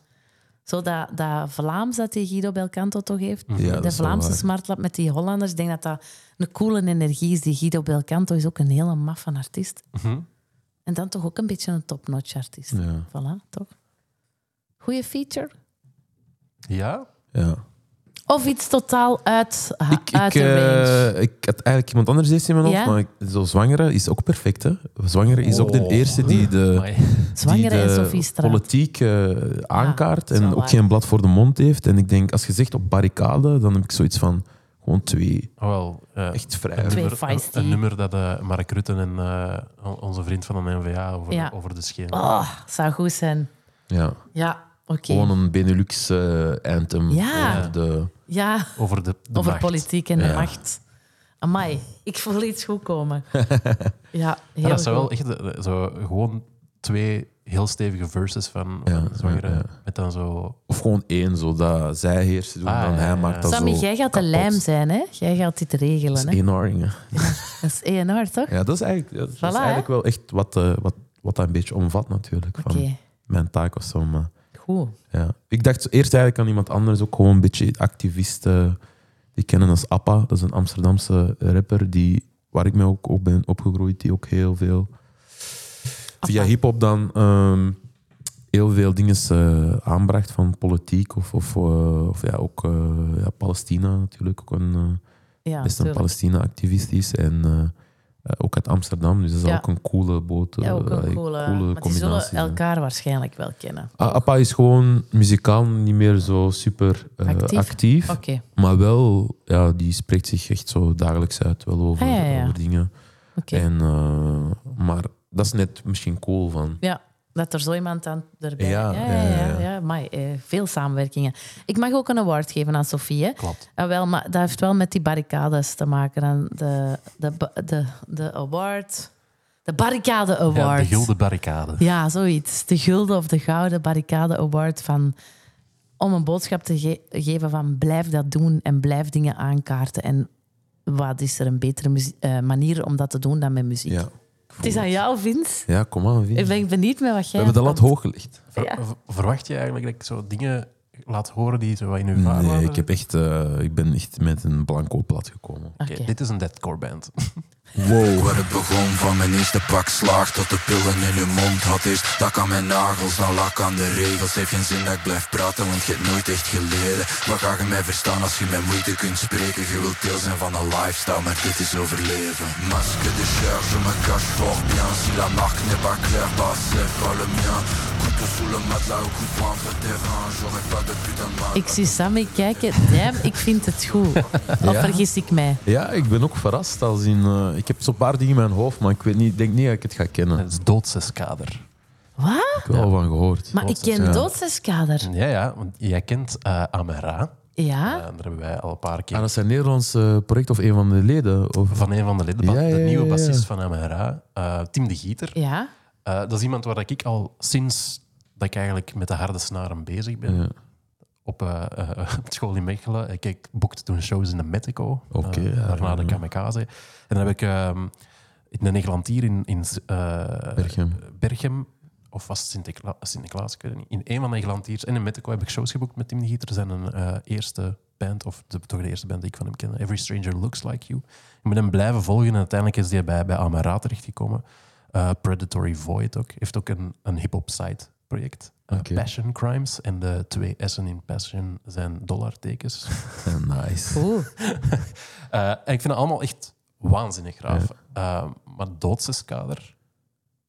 S1: Zo dat, dat Vlaams dat die Guido Belcanto toch heeft.
S2: Ja, dat
S1: de
S2: is wel
S1: Vlaamse
S2: waar.
S1: smartlap met die Hollanders. Ik denk dat dat een coole energie is. Die Guido Belcanto is ook een hele maffe artiest. En dan toch ook een beetje een topnotch artiest.
S2: Mhm. Ja.
S1: Voilà, toch? Goeie feature.
S3: Ja?
S2: ja.
S1: Of iets totaal uit, ha-
S2: Ik,
S1: uit
S2: ik,
S1: de range.
S2: eh, ik had eigenlijk iemand anders eerst in mijn hoofd,
S1: Ah, Ja?
S2: maar ik, zo zwangere is ook perfect. Hè? Zwangere is ook de
S3: Oh.
S2: eerste die de,
S3: Amai.
S1: Zwangere
S2: die
S1: en
S2: de
S1: Sophie Straat.
S2: politiek eh, aankaart
S1: dat is
S2: en
S1: wel
S2: ook
S1: waar.
S2: geen blad voor de mond heeft. En ik denk, als je zegt op barricade, dan heb ik zoiets van gewoon twee
S3: Oh, wel, eh,
S2: echt
S3: een,
S2: vrij.
S1: Twee
S3: nummer, een,
S1: feisty.
S3: een nummer dat eh, Mark Rutten en eh, on- onze vriend van de NVA over,
S1: Ja.
S3: over de schenen.
S1: Oh, zou goed zijn.
S2: Ja.
S1: Ja, oké.
S2: Gewoon een Benelux eh, anthem.
S1: Ja.
S2: over de,
S1: Ja,
S3: Over de, de
S1: over
S3: macht.
S1: politiek en de
S2: Ja.
S1: macht. Amai, ik voel iets goed komen. ja, heel
S3: Ja, dat zijn
S1: goed.
S3: wel echt eh, zo, gewoon twee heel stevige verses van,
S2: Ja,
S3: van Zwangere.
S2: ja, ja.
S3: Met dan zo...
S2: of gewoon één, zodat zij heerst doen,
S3: Ah,
S2: dan
S3: ja,
S2: hij
S3: ja,
S2: maakt
S3: ja.
S2: dat
S1: Sammy,
S2: zo
S1: jij gaat de
S2: kapot.
S1: lijm zijn, hè? Jij gaat dit
S2: Dat
S1: regelen,
S2: is
S1: hè?
S2: eenhoorn, hè.
S1: Dat is ENR, toch?
S2: Ja, dat is eigenlijk, dat is
S1: Voilà,
S2: eigenlijk wel echt wat, eh, wat, wat dat een beetje omvat natuurlijk.
S1: Oké,
S2: Van mijn taak of zo. Maar,
S1: goed.
S2: ja. Ik dacht zo eerst eigenlijk aan iemand anders, ook gewoon een beetje activisten. Die kennen als Appa, dat is een Amsterdamse rapper die, waar ik mee ook op ben opgegroeid. Die ook heel veel, via hip-hop dan, ehm, heel veel dingen eh, aanbracht van politiek. Of, of, eh, of ja, ook eh, ja, Palestina natuurlijk. Ook een, eh,
S1: Ja,
S2: best een
S1: tuurlijk.
S2: Palestina-activist is. En eh, eh, ook uit Amsterdam, dus dat is
S1: Ja.
S2: ook een coole boot. eh,
S1: Ja, ook een
S2: allee,
S1: coole, maar die
S2: combinatie.
S1: zullen
S2: zijn.
S1: elkaar waarschijnlijk wel kennen.
S2: Ah, Appa is gewoon muzikaal niet meer zo super eh,
S1: Actief?
S2: actief,
S1: Oké,
S2: maar wel, ja, die spreekt zich echt zo dagelijks uit wel over,
S1: Ah, ja, ja.
S2: over dingen.
S1: Oké.
S2: En, eh, maar dat is net misschien cool van.
S1: ja. Dat er zo iemand aan erbij...
S2: Ja,
S1: ja,
S2: ja,
S1: ja.
S2: ja.
S1: Amai, eh, veel samenwerkingen. Ik mag ook een award geven aan Sofie, hè?
S3: Klopt.
S1: Ah, wel, maar dat heeft wel met die barricades te maken. En de, de, ba- de, de award. De barricade
S3: Ja,
S1: award.
S3: de gulden barricade.
S1: Ja, zoiets. De gulden of de gouden barricade award van... Om een boodschap te ge- geven van blijf dat doen en blijf dingen aankaarten. En wat is er een betere muzie- eh, manier om dat te doen dan met muziek?
S2: Ja,
S1: Het is aan jou, Vince.
S2: ja kom aan, Vin.
S1: Ik ben benieuwd met wat
S2: We
S1: jij...
S2: hebben de lat
S1: komt.
S2: hoog gelegd.
S3: Ver-
S1: Ja.
S3: ver- Verwacht je eigenlijk dat ik zo dingen laat horen die zo wat in uw vaar
S2: Ah, Nee,
S3: waren?
S2: ik, heb echt, eh, ik ben echt met een blanco plat gekomen.
S1: Oké.
S3: Oké, Dit is een deadcore band.
S2: Wow.
S6: Waar het begon van mijn eerste pak slaag tot de pillen in hun mond had eerst tak aan mijn nagels, dan lak aan de regels. Heeft geen zin dat ik blijf praten, want je hebt nooit echt geleden. Wat ga je mij verstaan als je met moeite kunt spreken? Je wilt deel zijn van een lifestyle, maar dit is overleven. Masque de charge, me cache fort bien. Si la marque n'est pas claire, bah c'est pas le mien. Couteau sous le matelas, au coup de prendre terrain. J'aurais pas de
S1: Ik zie Sammy kijken. Damn, ik vind het goed. Of vergis ik mij?
S2: Ja, ik ben ook verrast. Als in, eh, ik heb zo'n paar dingen in mijn hoofd, maar ik weet niet, ik denk niet dat ik het ga kennen.
S3: Het
S2: Ik
S3: is doodseskader.
S1: Wat?
S2: heb er al van gehoord.
S1: Maar ik ken
S2: ja.
S1: Doodseskader.
S3: Ja, ja, want jij kent eh Amara. Eh,
S1: Ja?
S3: daar hebben wij al een paar keer
S2: Ah, dat is een Nederlands eh, project of een van de leden? Of?
S3: van een van de leden,
S2: Ja,
S3: de
S2: ja, ja,
S3: nieuwe
S2: ja.
S3: bassist van Amara, eh, Tim de Gieter.
S1: Ja?
S3: Eh, dat is iemand waar dat ik al sinds dat ik eigenlijk met de harde snaren bezig ben.
S2: Ja.
S3: Op, eh, eh, op school in Mechelen. Ik, ik boekte toen shows in de Metico.
S2: Oké,
S3: eh,
S2: ja,
S3: daarna de
S2: ja.
S3: Kamikaze. En dan heb ik ehm, in de Nederlandier in, in eh,
S2: Berchem.
S3: Berchem, of was het Sinterkla- Sinterklaas, ik weet het niet. In een van de Nederlandiers en in Metico heb ik shows geboekt met Tim de Gieter. Zijn een, eh, eerste band, of de, toch de eerste band die ik van hem ken. Every Stranger Looks Like You. Ik ben hem blijven volgen en uiteindelijk is hij bij, bij Amara terechtgekomen. Eh, Predatory Void ook. Heeft ook een, een hip-hop site project. Eh,
S2: Oké.
S3: Passion Crimes. En de twee S'en in Passion zijn dollartekens.
S2: Eh, Nice.
S1: Oeh.
S3: Eh, en ik vind het allemaal echt waanzinnig graaf. Eh, maar doodseskader,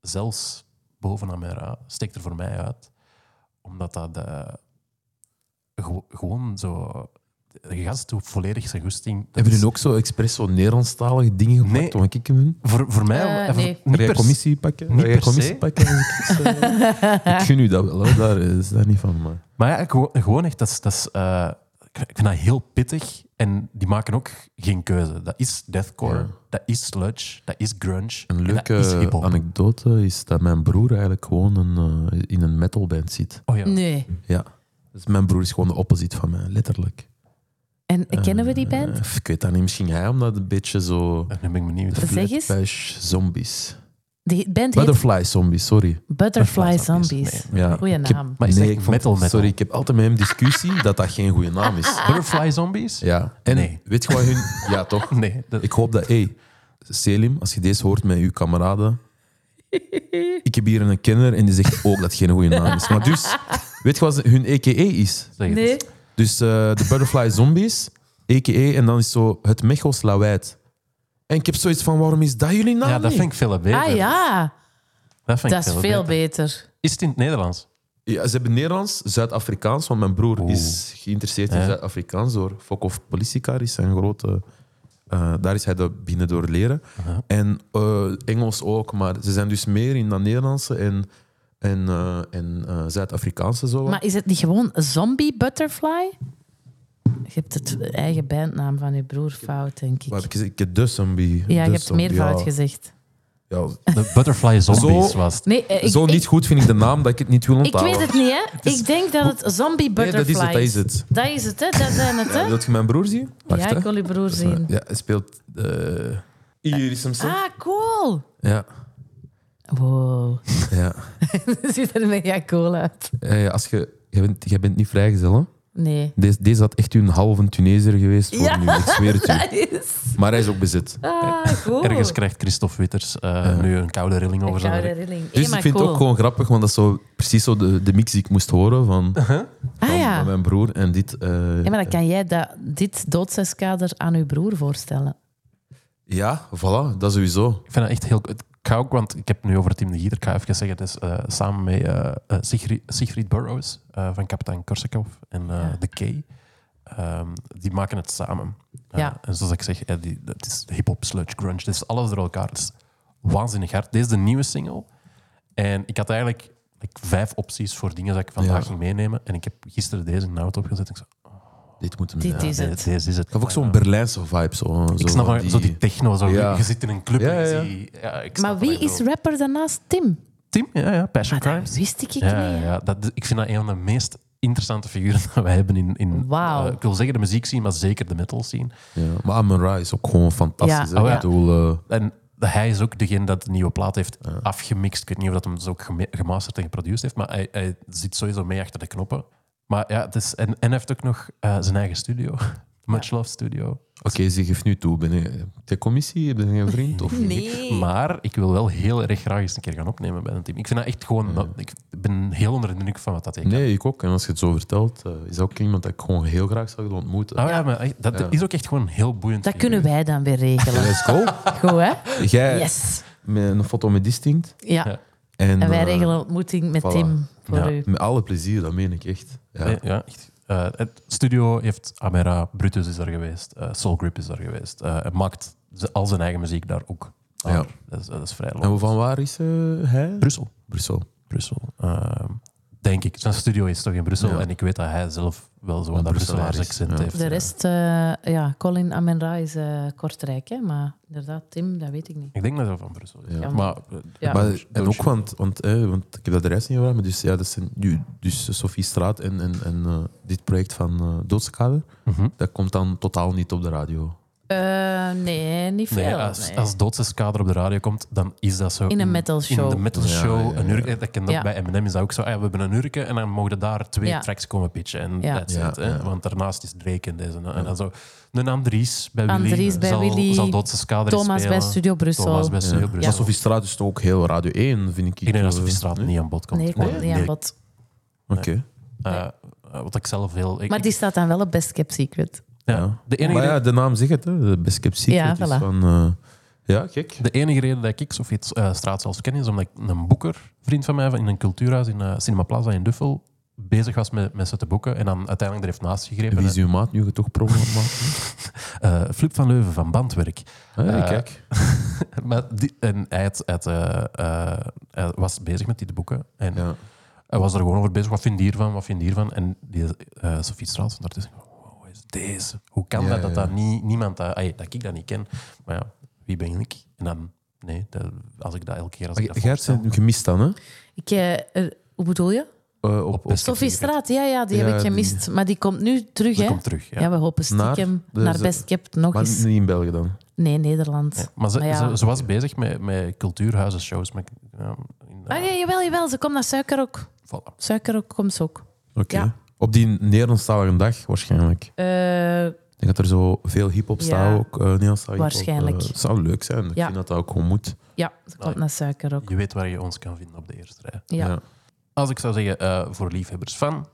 S3: zelfs bovenaan mijn ra, steekt er voor mij uit. Omdat dat eh, gewo- gewoon zo... De gast doet volledig zijn goesting. Dat
S2: Hebben
S3: is-
S2: jullie ook zo expres zo Nederlandstalige dingen
S3: Nee.
S2: gemaakt? om ik hem doen?
S3: Voor, voor mij...
S1: Eh,
S3: eh, voor-
S1: nee.
S2: Ga
S3: niet
S2: jij
S3: per
S2: commissie pakken?
S3: niet
S2: Ga jij
S3: per se.
S2: commissie pakken? als ik iets, eh, ik gun u dat wel, hoor. daar is dat niet van. Maar.
S3: Maar ja, gewo- gewoon echt, dat is, dat is, eh, ik vind- ik vind dat heel pittig. En die maken ook geen keuze. Dat is deathcore,
S2: Ja.
S3: dat is sludge, dat is grunge.
S2: Een
S3: en dat is
S2: leuke
S3: hiphop.
S2: anekdote is dat mijn broer eigenlijk gewoon een, eh, in een metalband zit.
S3: Oh ja,
S1: Nee.
S2: Ja. Dus mijn broer is gewoon de opposite van mij, letterlijk.
S1: En kennen we die
S2: Eh,
S1: band?
S2: ik weet dat niet, misschien hij, omdat het een beetje zo...
S3: nu ben ik benieuwd.
S1: Zeg eens.
S2: Flatbush zombies.
S1: Die band heet
S2: Butterfly zombies, sorry.
S1: Butterfly Zombies.
S3: Zombies.
S2: Ja.
S1: Goeie
S3: Ik heb-
S1: naam.
S3: maar is
S2: Nee,
S3: dat
S2: ik vond-
S3: metal metal?
S2: Sorry, ik heb altijd met hem discussie dat dat geen goede naam
S1: Ah,
S2: is.
S3: Butterfly Zombies?
S2: Ja. En
S3: Nee.
S2: weet je wat hun... Ja, toch?
S3: Nee, dat-
S2: Ik hoop dat... Hey, Selim, als je deze hoort met uw kameraden... Ik heb hier een kenner en die zegt ook dat het geen goede naam is. Maar dus, weet je wat ze- hun EKE is?
S3: zeg het.
S1: Nee.
S2: Dus eh, de Butterfly Zombies, EKE, en dan is zo het Mechels lawaait. En ik heb zoiets van, waarom is dat jullie naam
S3: Ja, dat
S2: niet?
S3: vind ik veel beter.
S1: Ah ja,
S3: dat, vind ik
S1: dat is veel
S3: beter.
S1: beter.
S3: Is het in het Nederlands?
S2: Ja, ze hebben Nederlands, Zuid-Afrikaans, want mijn broer is geïnteresseerd in
S3: Ja.
S2: Zuid-Afrikaans door Fok of Politica, is zijn grote. eh, daar is hij dat binnen door leren. En eh, Engels ook, maar ze zijn dus meer in dat Nederlandse en, en, eh, en eh, Zuid-Afrikaanse zo. wat.
S1: Maar is het niet gewoon Zombie Butterfly? Je hebt het eigen bandnaam van je broer fout, denk
S2: Wat heb
S1: ik.
S2: ik gezegd? Ik heb de zombie.
S1: Ja,
S2: de
S1: je hebt
S2: zombie,
S1: meer fout
S2: ja.
S1: gezegd.
S2: Ja.
S3: De Butterfly Zombies
S2: Zo-
S3: was het.
S1: Nee, eh, ik,
S2: Zo
S1: ik-
S2: niet goed vind ik de naam dat ik het niet wil
S1: Ik
S2: onthouden.
S1: weet het niet, hè? Ik denk dat het zombie
S2: Nee, dat
S1: butterflies.
S2: is het, dat is het.
S1: Dat is het, hè? Dat zijn het, hè?
S2: Wil je mijn broer zien? Wacht,
S1: Ja,
S2: hè.
S1: ik wil je broer zien.
S2: Ja, hij speelt... eh Iris Simpson.
S1: Ah, cool.
S2: Ja,
S1: Wow.
S2: ja.
S1: Dat ziet er mega cool uit.
S2: Eh, als je... Jij bent, jij bent niet vrijgezel, hè?
S1: Nee.
S2: Deze, deze had echt een halve Tunesier geweest voor
S1: Ja.
S2: nu, ik zweer het u.
S1: Dat is...
S2: Maar hij is ook bezit.
S1: Ah, cool.
S3: Ergens krijgt Christophe Witters eh, nu een koude rilling over
S1: Ik
S3: zijn
S1: hou
S3: werk.
S1: daar rilling.
S2: Dus
S1: Hey, maar
S2: ik vind
S1: cool.
S2: het ook gewoon grappig, want dat is zo, precies zo de, de mix die ik moest horen van,
S1: Ah
S2: van
S1: ja.
S2: mijn broer en dit. eh,
S1: Ja, maar dan kan jij dat, dit doodseskader aan uw broer voorstellen.
S2: ja, voilà, dat sowieso.
S3: Ik vind dat echt heel... Ik ga ook, want ik heb nu over Tim de Gieter, ik ga even zeggen, het is eh, samen met eh, eh, Sigri- Siegfried Burroughs eh, van Kapitein Korsakov en eh,
S1: Ja.
S3: The K. Ehm, die maken het samen. Eh,
S1: Ja.
S3: En zoals ik zeg, eh, die, dat is hip-hop, sludge, grunge, dit is alles door elkaar. Het is waanzinnig hard. Dit is de nieuwe single. En ik had eigenlijk like, vijf opties voor dingen dat ik vandaag
S2: Ja.
S3: ging meenemen. En ik heb gisteren deze in de auto opgezet. Ik zei,
S2: Dit moeten we...
S1: Dit
S2: ja.
S1: is
S3: nee,
S1: het.
S3: deze is het.
S2: Ik heb ook zo'n Berlijnse vibe. Zo,
S3: Ik snap wel, zo die techno. Zo,
S2: Ja.
S3: Je zit in een club
S2: Ja,
S3: en
S2: ja.
S3: je ziet- ja, ik snap
S1: Maar
S3: wat
S1: wie
S3: je
S1: is
S3: bedoelt.
S1: rapper daarnaast Tim?
S3: Tim, ja, ja, Passion
S1: Maar dat
S3: Crimes.
S1: wist ik
S3: Ja,
S1: niet.
S3: ja dat, ik vind dat een van de meest interessante figuren die wij hebben in, in
S1: Wauw.
S3: eh, ik wil zeggen de muziek zien, maar zeker de metal scene.
S2: Ja. Maar Amon Ra is ook gewoon fantastisch.
S1: Ja.
S2: hè.
S1: Oh, ja.
S2: Ik bedoel, eh,
S3: En hij is ook degene dat de nieuwe plaat heeft afgemixt. Ik weet niet of dat hem dus ook geme- gemasterd en geproduceerd heeft, maar hij, hij zit sowieso mee achter de knoppen. Maar ja, het is, en, en hij heeft ook nog eh, zijn eigen studio, Much Love Studio.
S2: Oké, ze geeft nu toe. Ben je de commissie? Ben je een vriend? Of
S1: Nee.
S3: Maar ik wil wel heel erg graag eens een keer gaan opnemen bij een team. Ik vind dat echt gewoon, ik ben heel onder de indruk van wat dat ik
S2: Nee, ik ook. En als je het zo vertelt, eh, is dat ook iemand dat ik gewoon heel graag zou willen ontmoeten.
S3: Ah, ja, maar echt, dat
S2: Ja.
S3: is ook echt gewoon heel boeiend.
S1: Dat kunnen wij dan weer regelen.
S2: Let's go.
S1: Goed, hè?
S2: Jij
S1: Yes.
S2: met een foto met Distinct.
S1: Ja.
S3: Ja.
S2: En,
S1: En wij
S2: eh,
S1: regelen een ontmoeting met
S2: voilà.
S1: Tim voor
S3: Ja.
S1: u.
S2: Met alle plezier, dat meen ik echt. Ja.
S3: Nee, ja, echt. Eh, eh, het studio heeft Amera, Brutus is daar geweest, eh, Soul Grip is daar geweest. eh en maakt z- al zijn eigen muziek daar ook. aan.
S2: Ja.
S3: Dat, is, dat is vrij
S2: En
S3: logisch.
S2: van waar is eh, hij?
S3: Brussel.
S2: Brussel.
S3: Brussel. ehm, denk ik. Zijn studio is toch in Brussel.
S2: Ja.
S3: En ik weet dat hij zelf wel zo'n
S2: Een
S3: dat Brusselaars
S2: Brusselaar is,
S3: accent
S2: ja.
S3: heeft.
S1: De rest, eh, ja, Colin Amenra is eh, Kortrijk, hè, maar inderdaad, Tim, dat weet ik niet.
S3: Ik denk dat hij van Brussel is.
S2: Ja.
S3: Maar, eh,
S1: Ja.
S2: Maar, en ook, want, want, eh, want ik heb dat de rest niet gedaan, maar dus, ja, dat zijn nu, dus Sophie Straat en, en, en eh, dit project van eh Doodskader,
S3: Mhm.
S2: dat komt dan totaal niet op de radio.
S1: Eh, nee, niet veel.
S3: Nee, als,
S1: nee.
S3: als doodseskader op de radio komt, dan is dat zo.
S1: In een metal
S3: In
S1: show.
S3: de metal
S2: Ja,
S3: show.
S2: ja, ja.
S3: Een hurken, dat ken dat
S1: Ja.
S3: Bij Eminem is dat ook zo. Ah, ja, we hebben een hurken en dan mogen daar twee
S1: Ja.
S3: tracks komen pitchen. En
S1: Ja.
S3: that's
S2: Ja,
S3: it, hè.
S2: ja.
S3: Want daarnaast is Drake en deze. En dan zo. Een Andries bij Willy.
S1: Andries bij
S3: zal,
S1: Willy,
S3: Zal doodseskader
S1: Thomas bij
S3: spelen.
S1: Studio Brussel.
S3: Thomas bij Studio
S2: Maar
S3: Brussel.
S2: Sophie Straat is toch ook heel Radio 1, vind ik.
S3: Ik denk dat
S2: eh,
S3: Sophie Straat
S2: nee?
S3: niet aan bod komt.
S1: Nee, komt niet aan
S3: Nee.
S1: bod.
S2: Oké.
S3: Eh, eh, wat ik zelf heel... ik-
S1: Maar die staat dan wel op Best Kept Secret.
S3: ja.
S2: Ja.
S3: De enige
S2: Maar ja, de naam zegt het, hè. de Best Kept Secret
S1: Ja,
S2: is
S1: voilà.
S2: van... eh, ja, gek.
S3: De enige reden dat ik Sofie eh Straat zelfs ken is omdat ik een boeker, vriend van mij, van in een cultuurhuis in eh, Cinema Plaza in Duffel, bezig was met, met ze te boeken en dan uiteindelijk er heeft naast gegrepen.
S2: Wie is uw maat nu je toch promo aan het maken?
S3: Eh, Flip van Leuven van Bandwerk.
S2: Ah, ja,
S3: Eh,
S2: kijk.
S3: maar die, en hij, had- hij had, eh, eh, hij was bezig met die te boeken en
S2: Ja.
S3: hij was er gewoon over bezig. Wat vind je hiervan? Wat vind je hiervan? En die, eh Sofie Straat stond daartussen. Wow, wat is deze? Hoe kan
S2: Ja,
S3: dat dat,
S2: ja.
S3: dat niet, niemand dat, ai, dat ik dat niet ken? Maar ja, wie ben ik? En dan, nee, dat- als ik dat elke keer als ik dat
S2: Gert
S3: voorstel-
S2: zijn gemist dan, hè?
S1: Ik, eh, er- hoe bedoel je?
S2: Eh, op, op,
S3: Best
S1: Sophie
S3: Secret.
S1: Straat, ja, ja, die
S2: Ja,
S1: heb ik
S2: die-
S1: gemist. Maar die komt nu terug,
S3: Die
S1: hè?
S3: komt terug. Ja.
S1: ja. we hopen stiekem
S2: Naar-
S1: naar,
S2: dus,
S1: Best Kept nog
S2: maar
S1: eens.
S2: niet in België dan.
S1: Nee, Nederland.
S3: Ja, Maar ze,
S1: Maar ja.
S3: ze, ze was bezig met, met cultuurhuizen, shows. Met, ja, in, eh,
S1: Ah, ja, jawel, jawel, ze komt naar Suikerok.
S3: voilà.
S1: Suikerok komt ze ook.
S2: Oké.
S1: Ja.
S2: Op die Nederlandstalige dag waarschijnlijk.
S1: Eh,
S2: Ik denk dat er zo veel hip-hop
S1: Ja.
S2: staat ook. eh Nederlandstalige hip-hop.
S1: Waarschijnlijk.
S2: Eh, het zou leuk zijn. Ik
S1: Ja.
S2: vind dat dat ook gewoon moet.
S1: ja, ze komt
S3: Amai.
S1: naar Suikerok.
S3: Je weet waar je ons kan vinden op de eerste rij.
S1: Ja.
S2: Ja.
S3: Als ik zou zeggen eh, voor liefhebbers van,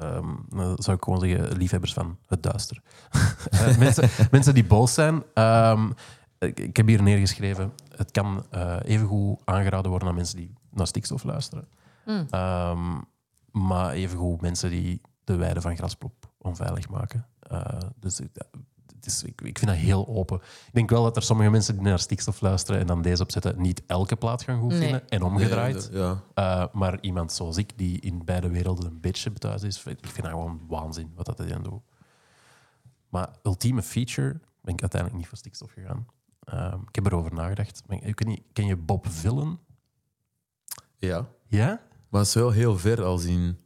S3: ehm, dan zou ik gewoon zeggen liefhebbers van het duister. Eh, mensen, mensen die boos zijn. ehm, ik, ik heb hier neergeschreven, het kan eh evengoed aangeraden worden aan mensen die naar stikstof luisteren.
S1: Mm.
S3: Ehm, maar evengoed mensen die de weide van Grasplop onveilig maken. Eh, dus ik- het is, ik, ik vind dat heel open. Ik denk wel dat er sommige mensen die naar stikstof luisteren en dan deze opzetten, niet elke plaat gaan goed
S1: Nee.
S3: vinden en omgedraaid.
S2: Ja, ja.
S3: Uh, maar iemand zoals ik, die in beide werelden een beetje thuis is, vind- ik vind dat gewoon waanzin wat dat dan doet. Maar ultieme feature ben ik uiteindelijk niet voor stikstof gegaan. Ehm, ik heb erover nagedacht. Maar ik weet niet, ken je Bob Villen?
S2: Ja.
S3: Ja?
S2: Maar het is wel heel ver al zien.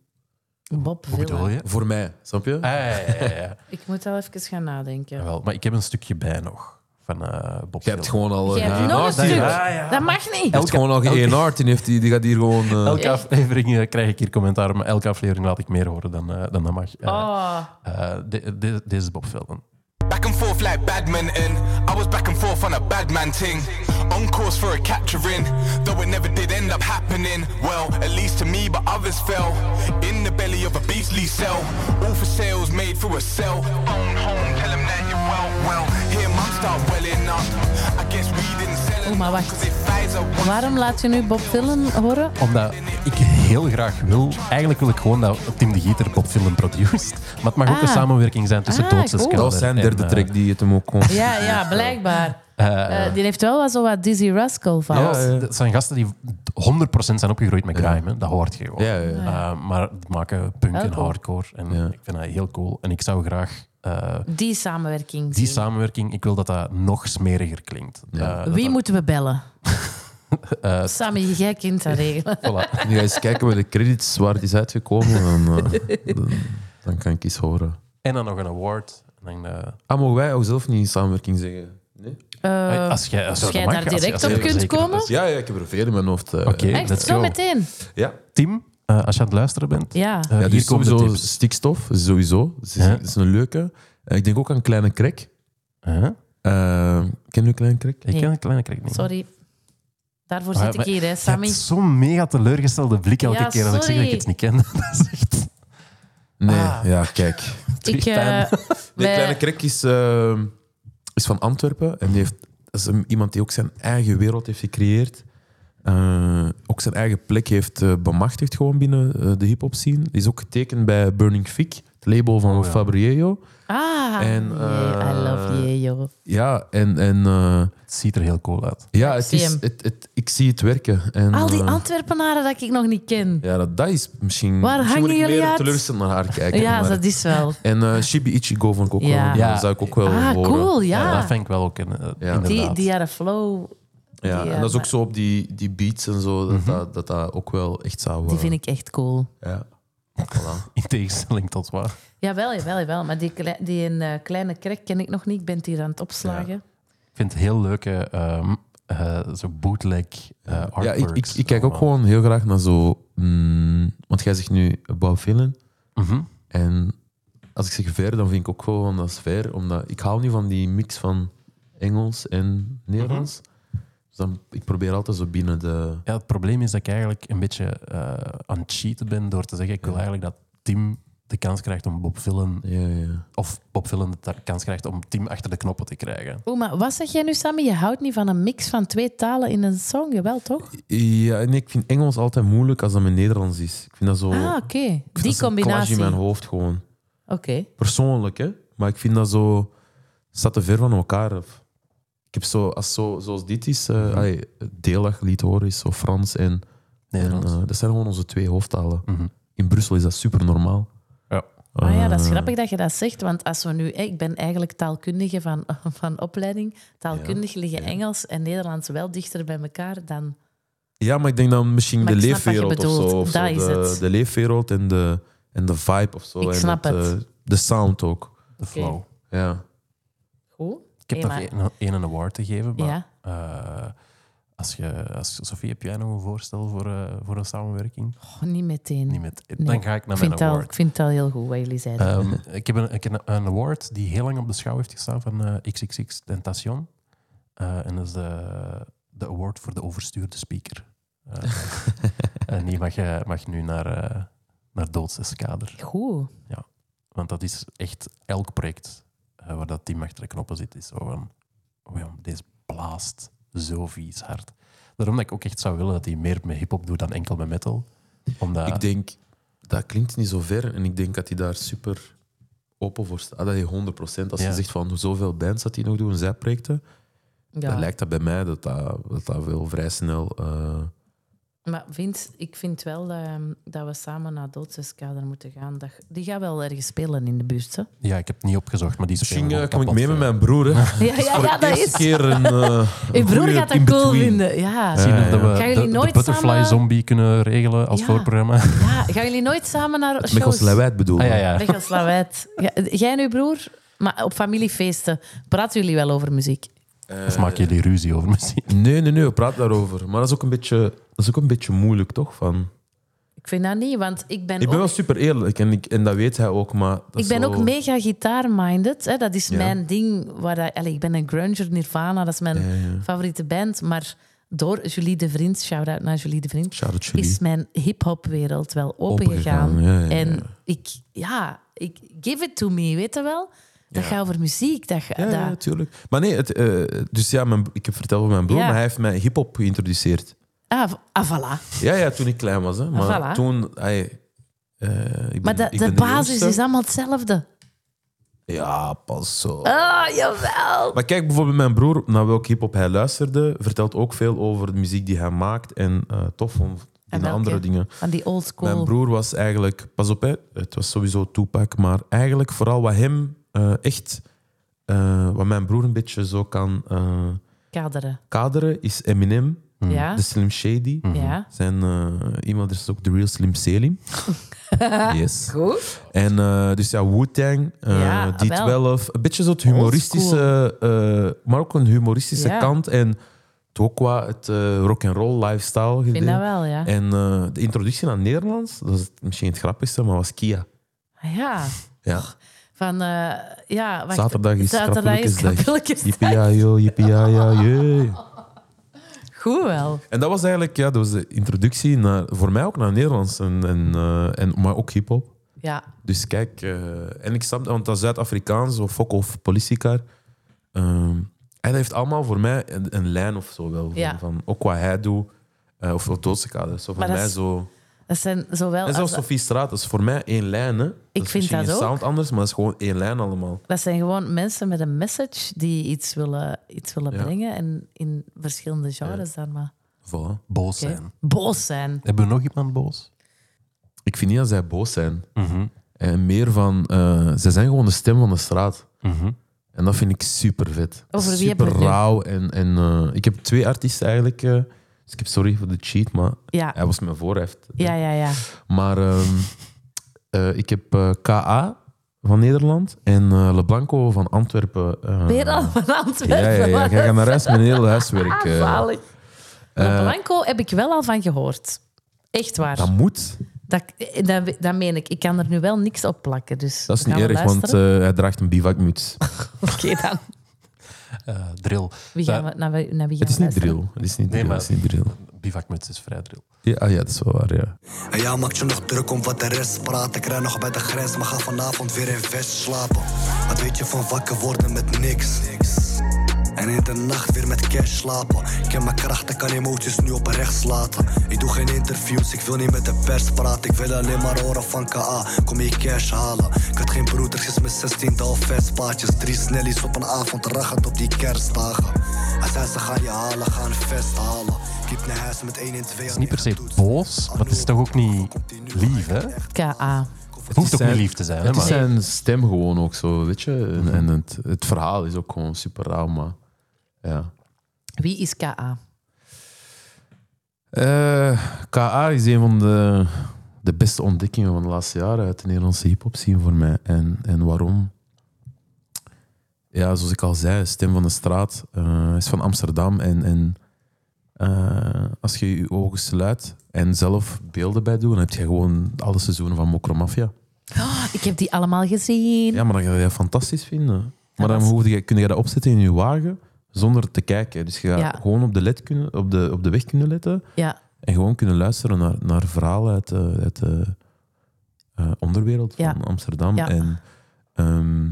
S1: Bob
S3: Hoe bedoel
S1: Villa.
S3: je?
S2: Voor mij, snap je?
S3: Ah, ja, ja, ja, ja.
S1: Ik moet wel even gaan nadenken.
S3: Jawel, maar ik heb een stukje bij nog van eh Bob
S2: Je
S3: Villen.
S2: hebt gewoon al...
S1: Jij
S2: eh,
S1: hebt
S2: geen
S1: nog een
S2: art hier.
S1: stuk.
S2: Je
S3: Ja, ja.
S1: Dat mag niet.
S2: hebt gewoon al geen art en heeft die, die gaat hier gewoon... eh,
S3: Elke
S1: Echt?
S3: aflevering eh, krijg ik hier commentaar, maar elke aflevering laat ik meer horen dan, eh, dan dat mag. Eh,
S1: Oh.
S3: eh, de- de- Deze is Bob Villen.
S8: Back and forth like badminton. I was back and forth on a bad man ting. On course for a capturing, though it never did end up happening. Well, at least to me, but others fell in the belly of a beastly cell. All for sales made through a cell. Own home, tell 'em that you're well, well. Here, mine start welling up. I guess we didn't sell
S1: Oh, maar
S8: enough,
S1: wacht.
S8: 'cause if Pfizer wants
S1: Waarom laat je nu Bob Villen horen?
S3: Omdat ik heel graag wil... Eigenlijk wil ik gewoon dat Tim de Gieter Bob Film produced. Maar het mag ook een
S1: Ah.
S3: samenwerking zijn tussen eh,
S1: Ah,
S3: Doodse
S1: cool.
S2: Dat was zijn derde track die het hem ook kon...
S1: Ja, ja, blijkbaar. Eh, die heeft wel wat zo wat Dizzy Rascal van.
S3: ja, eh, dat zijn gasten die 100% zijn opgegroeid met grime. hè. Dat hoort je gewoon.
S2: Ja, ja, ja.
S3: Eh, maar die maken punk
S1: Heel
S3: en
S1: cool.
S3: hardcore. En
S2: Ja.
S3: ik vind dat heel cool. En ik zou graag... eh,
S1: Die samenwerking.
S3: die
S1: zien.
S3: samenwerking, ik wil dat dat nog smeriger klinkt. Eh, dat
S1: Wie
S3: dat-
S1: moeten we bellen? Sammy, jij kind dat regelen.
S3: voilà.
S2: Nu ga je eens kijken bij de credits waar het is uitgekomen. Dan, eh, dan, dan kan ik iets horen.
S3: En dan nog een award. En dan, eh,
S2: Ah, mogen wij ook zelf niet in samenwerking zeggen? Nee?
S1: Eh,
S3: als jij, als
S1: als
S3: dat
S1: jij
S3: mag,
S1: daar
S3: als jij-
S1: direct
S3: als jij
S1: op
S3: er
S1: kunt
S3: zeker-
S1: komen?
S2: Ja, ja, ik heb er veel in mijn hoofd. eh.
S3: Oké,
S1: Echt,
S3: let's
S1: zo
S3: go.
S1: meteen.
S2: Ja.
S3: Tim, eh, als je aan het luisteren bent,
S1: Ja.
S3: eh,
S2: Ja,
S3: hier
S2: dus
S3: komen de
S2: sowieso
S3: tips.
S2: stikstof, sowieso. Dat is,
S3: Ja.
S2: dat is een leuke. Eh, ik denk ook aan Kleine Krek.
S3: Huh?
S2: Eh, ken je Kleine Krek?
S3: Ik
S1: Nee.
S3: ken een kleine krik niet.
S1: Sorry. Daarvoor
S3: Ah,
S1: zit ik
S3: maar
S1: hier, hè,
S3: Je
S1: Sammy.
S3: hebt zo'n mega teleurgestelde blik elke
S1: Ja,
S3: keer als ik zeg dat ik
S1: sorry.
S3: het niet ken. Dat is echt...
S2: Nee,
S3: Ah.
S2: ja, kijk.
S1: Ik, eh,
S3: pijn.
S2: Nee,
S1: wij-
S2: Kleine Krek is, eh, is van Antwerpen en die heeft, dat is een- iemand die ook zijn eigen wereld heeft gecreëerd. Eh, ook zijn eigen plek heeft eh, bemachtigd gewoon binnen eh, de hip-hop scene. Die is ook getekend bij Burning Fig. label van
S3: Oh, ja.
S2: Fabriello.
S1: Ah,
S2: En,
S1: yeah, I love
S2: eh,
S1: you, joh.
S2: Ja, en, en eh,
S3: Het ziet er heel cool uit.
S2: ja,
S1: Ik
S2: het
S1: zie
S2: is,
S1: hem.
S2: het, het, ik zie het werken. En,
S1: Al die
S2: eh,
S1: Antwerpenaren dat ik nog niet ken.
S2: ja, dat, dat is misschien...
S1: Waar
S2: misschien moet
S1: hangen
S2: ik
S1: jullie
S2: meer
S1: uit?
S2: teleurgesteld naar haar kijken.
S1: Ja,
S2: maar-
S1: dat is wel.
S2: En eh, Shibi Ichigo vond ik ook
S1: Ja.
S2: wel.
S3: Ja.
S2: Dat zou ik ook wel
S1: Ah,
S2: horen.
S1: cool, ja.
S3: Ja, dat vind ik wel ook in, eh,
S2: Ja.
S1: die,
S3: inderdaad.
S1: die had een flow,
S2: Ja,
S1: Die,
S2: en
S1: eh,
S2: dat is ook
S1: maar-
S2: zo op die, die beats en zo, dat,
S3: Mhm.
S2: dat, dat dat ook wel echt zou...
S1: die
S2: eh,
S1: vind ik echt cool.
S2: Ja. Voilà.
S3: In tegenstelling tot waar.
S1: Jawel, jawel, jawel. Maar die, klei- die een eh, kleine krek ken ik nog niet. Ik ben het hier aan het opslagen.
S3: Ik vind het heel leuke, ehm, eh, zo bootleg eh
S2: ja, ik, ik,
S3: artworks
S2: ik kijk ook
S3: allemaal.
S2: gewoon heel graag naar zo... mm, want jij zegt nu Bob Villain.
S3: Mhm.
S2: En als ik zeg ver, dan vind ik ook gewoon dat is ver. Omdat ik hou nu van die mix van Engels en Nederlands. Dus dan, ik probeer altijd zo binnen de...
S3: Ja, het probleem is dat ik eigenlijk een beetje eh, aan het cheaten ben door te zeggen: ik wil eigenlijk dat Tim de kans krijgt om Bob Villen,
S2: Ja, ja.
S3: of Bob Villen de ta- kans krijgt om Tim achter de knoppen te krijgen.
S1: Oeh, maar wat zeg jij nu, Sammy? Je houdt niet van een mix van twee talen in een song, jawel, toch?
S2: ja nee, ik vind Engels altijd moeilijk als dat mijn Nederlands is. Ik vind dat zo...
S1: Ah, oké.
S2: ik vind dat
S1: Die
S2: zo'n clash in
S1: combinatie.
S2: mijn
S1: Oké.
S2: hoofd gewoon.
S3: Eh.
S2: persoonlijk, hè? maar ik vind dat zo. staat te ver van elkaar af. Ik heb zo, als zo zoals dit is, eh ai, het deeldaglied horen is zo Frans en.
S3: Nederlands.
S2: en, eh, dat zijn gewoon onze twee hoofdtalen.
S3: Mhm.
S2: In Brussel is dat Eh, super normaal.
S3: Ja.
S1: Ah ja, dat is grappig dat je dat zegt, want als we nu, hè, ik ben eigenlijk taalkundige van, van opleiding, taalkundig liggen Engels en Nederlands wel dichter bij elkaar dan.
S2: Ja, maar ik denk dan misschien
S1: Maar
S2: de
S1: ik snap wat je
S2: leefwereld of
S1: bedoelt.
S2: zo. Of zo,
S1: Dat is
S2: de,
S1: het.
S2: de leefwereld en de, en de vibe of zo.
S1: Ik
S2: en
S1: snap het.
S2: eh, de sound ook.
S3: De flow.
S2: Ja.
S1: Goed.
S3: Ik heb
S1: Hey,
S3: nog
S1: maar-
S3: één- één een award te geven, maar
S1: Ja.
S3: eh, als je, als Sophie, heb jij nog een voorstel voor, eh, voor een samenwerking?
S1: Oh, niet meteen.
S3: Niet met,
S1: Nee.
S3: Dan ga ik
S1: ik,
S3: naar
S1: vind
S3: mijn
S1: het al,
S3: award.
S1: ik vind het al heel goed wat jullie zeiden.
S3: Ehm, ik heb, een, ik heb een- een award die heel lang op de schouw heeft gestaan van eh, XXX Tentacion. Eh, en dat is de, de award voor de overstuurde speaker. Eh, en die mag, eh, mag nu naar, eh naar Doodseskader.
S1: goed.
S3: Want dat is echt elk project eh, waar dat team achter de knoppen zit, is zo van... Oh ja, deze blaast zo vies hard. Daarom dat ik ook echt zou willen dat hij meer met hip-hop doet dan enkel met metal. Omdat,
S2: Ik denk, dat klinkt niet zo ver. En ik denk dat hij daar super open voor staat. Ah, Dat hij 100%, als
S3: Ja.
S2: je zegt van zoveel bands dat hij nog doet en zijprojecten,
S1: Ja.
S2: dan lijkt dat bij mij dat dat, dat, dat wel vrij snel... eh,
S1: Maar Vince, ik vind wel ehm, dat we samen naar Doodseskader moeten gaan. Dat, die gaat wel ergens spelen in de buurt, hè?
S3: ja, ik heb het niet opgezocht, maar die
S2: misschien
S3: spelen
S2: eh,
S3: ook
S2: kom ik
S3: kapot
S2: mee met
S3: veel.
S2: mijn broer. Hè.
S1: Ja, ja, ja dat
S2: Eerste
S1: is.
S2: keer een... eh,
S1: Je
S2: een
S1: broer
S2: goeie
S1: gaat dat
S2: in-between.
S1: cool vinden. Ja.
S2: Ah, Ja.
S3: Zien of dat we
S1: Gaan
S3: de,
S1: jullie
S3: de
S1: nooit
S3: Butterfly
S1: samen-
S3: Zombie kunnen regelen als
S1: Ja.
S3: voorprogramma.
S2: Ah,
S1: ja. Gaan jullie nooit samen naar shows?
S2: Mechels Lewet bedoel
S3: Ah, ja,
S2: ik.
S3: ja.
S1: Mechels Lawet. Ja, Jij en uw broer? Maar op familiefeesten praten jullie wel over muziek?
S3: Of maak jullie ruzie over muziek?
S2: Nee, nee, nee, we praten daarover. Maar dat is ook een beetje, dat is ook een beetje moeilijk, toch? Van,
S1: Ik vind dat niet, want ik ben
S2: ik ben
S1: ook...
S2: wel super eerlijk en, ik, en dat weet hij ook, maar... dat
S1: Ik
S2: is
S1: ben
S2: zo-
S1: ook mega gitaar-minded. hè. Dat is
S2: Ja.
S1: mijn ding. Waar, dat- allee, ik ben een grunger, Nirvana, dat is mijn
S2: Ja, ja.
S1: favoriete band. Maar door Julie de Vriend, shout-out naar Julie de Vriend,
S2: Shout out Julie.
S1: is mijn hip-hop-wereld wel opengegaan.
S2: Opengegaan, ja, ja, ja.
S1: En ik, ja, ik give it to me, weet je wel? Dat gaat over muziek. Dat, ga-
S2: Ja, ja,
S1: dat-
S2: tuurlijk. Maar nee, het, eh, dus ja, mijn, ik heb verteld over mijn broer,
S1: Ja.
S2: maar hij heeft mij hip-hop geïntroduceerd.
S1: Ah, v- ah, voilà.
S2: Ja, ja, toen ik klein was. Hè. Maar
S1: voilà.
S2: toen. ai, eh, ik ben,
S1: Maar de,
S2: ik
S1: de
S2: ben
S1: basis
S2: jongste.
S1: is allemaal hetzelfde.
S2: Ja, pas zo.
S1: Ah, jawel.
S2: Maar kijk bijvoorbeeld mijn broer, naar welk hip-hop hij luisterde, vertelt ook veel over de muziek die hij maakt en eh, tof vond. En
S1: welke?
S2: andere dingen.
S1: Van die old
S2: Mijn
S1: school.
S2: broer was eigenlijk, pas op, hè, het was sowieso Tupac, maar eigenlijk vooral wat hem eh, echt, eh, wat mijn broer een beetje zo kan eh,
S1: Kaderen.
S2: kaderen, is Eminem,
S1: Ja?
S2: de Slim Shady.
S1: Ja?
S2: Zijn eh, iemand is ook The Real Slim Selim. yes.
S1: Goed.
S2: En eh, dus ja, Wu-Tang, eh,
S1: Ja,
S2: D12. Een beetje zo het humoristische, eh, maar ook een humoristische
S1: Ja.
S2: kant. En toch qua het eh, rock rock'n'roll lifestyle.
S1: Ik vind dat wel, ja.
S2: En eh, de introductie naar het Nederlands, dat is misschien het grappigste, maar was Kia.
S1: Ah, Ja.
S2: Ja.
S1: Van, eh, ja, Oh, wacht.
S2: Zaterdag is
S1: Zaterdag is Krapulkensdag.
S2: Yippie-ya-yo, yippie-ya-ya, yeah.
S1: Goed wel.
S2: En dat was eigenlijk ja, dat was de introductie naar, voor mij ook naar het Nederlands, en, en, eh, en, maar ook hip-hop.
S1: Ja.
S2: Dus kijk, eh, en ik snap dat, want dat is Zuid-Afrikaans of fok of politiecar. Ehm en dat heeft allemaal voor mij een, een lijn of zo wel. Van,
S1: Ja.
S2: van ook wat hij doet, eh, of op doodse kader. Zo voor
S1: Maar dat
S2: mij
S1: is-
S2: zo.
S1: Dat zijn zowel
S2: En zelfs
S1: als-
S2: Sophie Straat is voor mij één lijn. Hè.
S1: vind dat
S2: ook.
S1: ook.
S2: sound anders, maar het is gewoon één lijn allemaal.
S1: Dat zijn gewoon mensen met een message die iets willen, iets willen
S2: Ja.
S1: brengen. En in verschillende genres dan maar.
S2: Voilà.
S3: Boos
S1: Oké.
S3: zijn.
S1: Boos zijn.
S3: Hebben we nog iemand boos?
S2: Ik vind niet dat zij boos zijn. En meer van, eh, ze zijn gewoon de stem van de straat. En dat vind ik super vet.
S1: Over wie hebben
S2: super
S1: we het nu?
S2: rauw. En, en eh, ik heb twee artiesten eigenlijk. eh, dus ik heb sorry voor de cheat, maar
S1: Ja,
S2: hij was mijn voorheft.
S1: ja, ja. ja.
S2: Maar ehm, eh, ik heb eh, KA van Nederland en eh, LeBlanco van Antwerpen. eh,
S1: Weer al van
S2: Ja,
S1: Antwerpen. Ah,
S2: ja, ja. Jij gaat naar huis met een heel huiswerk. eh.
S1: Zalig.
S2: Eh,
S1: Blanco heb ik wel al van gehoord. Echt waar.
S2: dat moet.
S1: Dat, dat, dat meen ik. Ik kan er nu wel niks op plakken. Dus
S2: Dat is niet
S1: gaan we
S2: erg, want
S1: luisteren?
S2: eh, hij draagt een bivakmuts.
S1: Oké, dan.
S3: Eh, drill.
S1: Wie gaan we, naar, wie- naar wie gaan
S2: Het is
S1: we
S2: niet
S1: luisteren?
S2: drill. Het is niet
S3: Nee,
S2: drill.
S3: maar-
S2: Het is niet drill.
S3: Bivakmuts is vrij drill.
S2: Ja, ah, ja, dat is wel waar, ja.
S9: En ja, maak je nog druk om wat de rest praat. Ik rij nog bij de grens, maar ga vanavond weer in vest slapen. Wat weet je van wakker worden met niks? En in de nacht weer met cash slapen. Ik ken mijn krachten, kan emoties nu oprecht laten. Ik doe geen interviews, ik wil niet met de pers praten. Ik wil alleen maar horen van KA, Ah, kom je cash halen. Ik had geen broedertjes met 16 dalvestpaadjes. Drie snellies op een avond, rachend op die kerstdagen. Hij zei ze gaan je halen, gaan vest halen. Ik liep naar huis met 1 en 2
S3: Het is niet per se boos, maar het is toch ook niet lief, hè? Het
S1: KA.
S3: hoeft ook
S2: zijn-
S3: niet lief te zijn, hè?
S2: Het is
S3: Maar
S2: zijn stem gewoon ook zo, weet je. En, en het, het verhaal is ook gewoon super rauw, maar... Ja.
S1: Wie is KA?
S2: Eh, KA is een van de, de beste ontdekkingen van de laatste jaren uit de Nederlandse hip-hop scene voor mij. En, en waarom? Ja, zoals ik al zei, Stem van de Straat eh, is van Amsterdam. En, en eh, als je je ogen sluit en zelf beelden bij doet, dan heb je gewoon alle seizoenen van Mokromafia.
S1: Ik heb die allemaal gezien.
S2: Ja, maar dan ga je dat fantastisch vinden. Maar dan
S1: dat is-
S2: hoef je, kun je dat opzetten in je wagen zonder te kijken. Dus je gaat
S1: Ja.
S2: gewoon op de, led kunnen, op, de, op de weg kunnen letten
S1: Ja.
S2: en gewoon kunnen luisteren naar, naar verhalen uit de, uit de eh, onderwereld
S1: Ja.
S2: van Amsterdam.
S1: Ja.
S2: En ehm,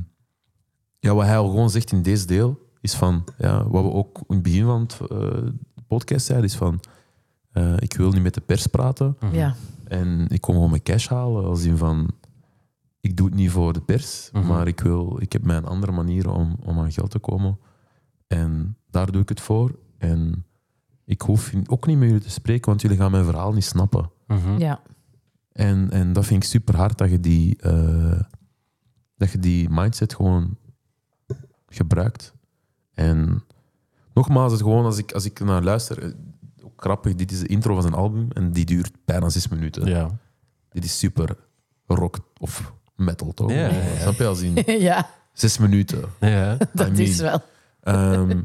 S2: ja, wat hij al gewoon zegt in deze deel is van, ja, wat we ook in het begin van het eh, podcast zeiden, is van, eh, ik wil niet met de pers praten.
S1: Ja.
S2: En ik kon gewoon mijn cash halen, als in van... Ik doe het niet voor de pers,
S3: Mhm.
S2: maar ik, wil, ik heb mijn andere manieren om, om aan geld te komen. En daar doe ik het voor. En ik hoef ook niet met jullie te spreken, want jullie gaan mijn verhaal niet snappen.
S3: Mhm.
S1: ja.
S2: En, en dat vind ik super hard dat je die, eh, dat je die mindset gewoon gebruikt. En nogmaals, het gewoon als ik, als ik naar luister, eh, ook grappig, dit is de intro van zijn album en die duurt bijna zes minuten
S3: ja.
S2: dit is super rock of metal, toch?
S3: Ja, ja, ja.
S2: Snap je? Als in
S1: ja,
S2: zes minuten.
S3: Ja,
S1: dat
S2: I mean.
S1: is wel.
S2: Ehm,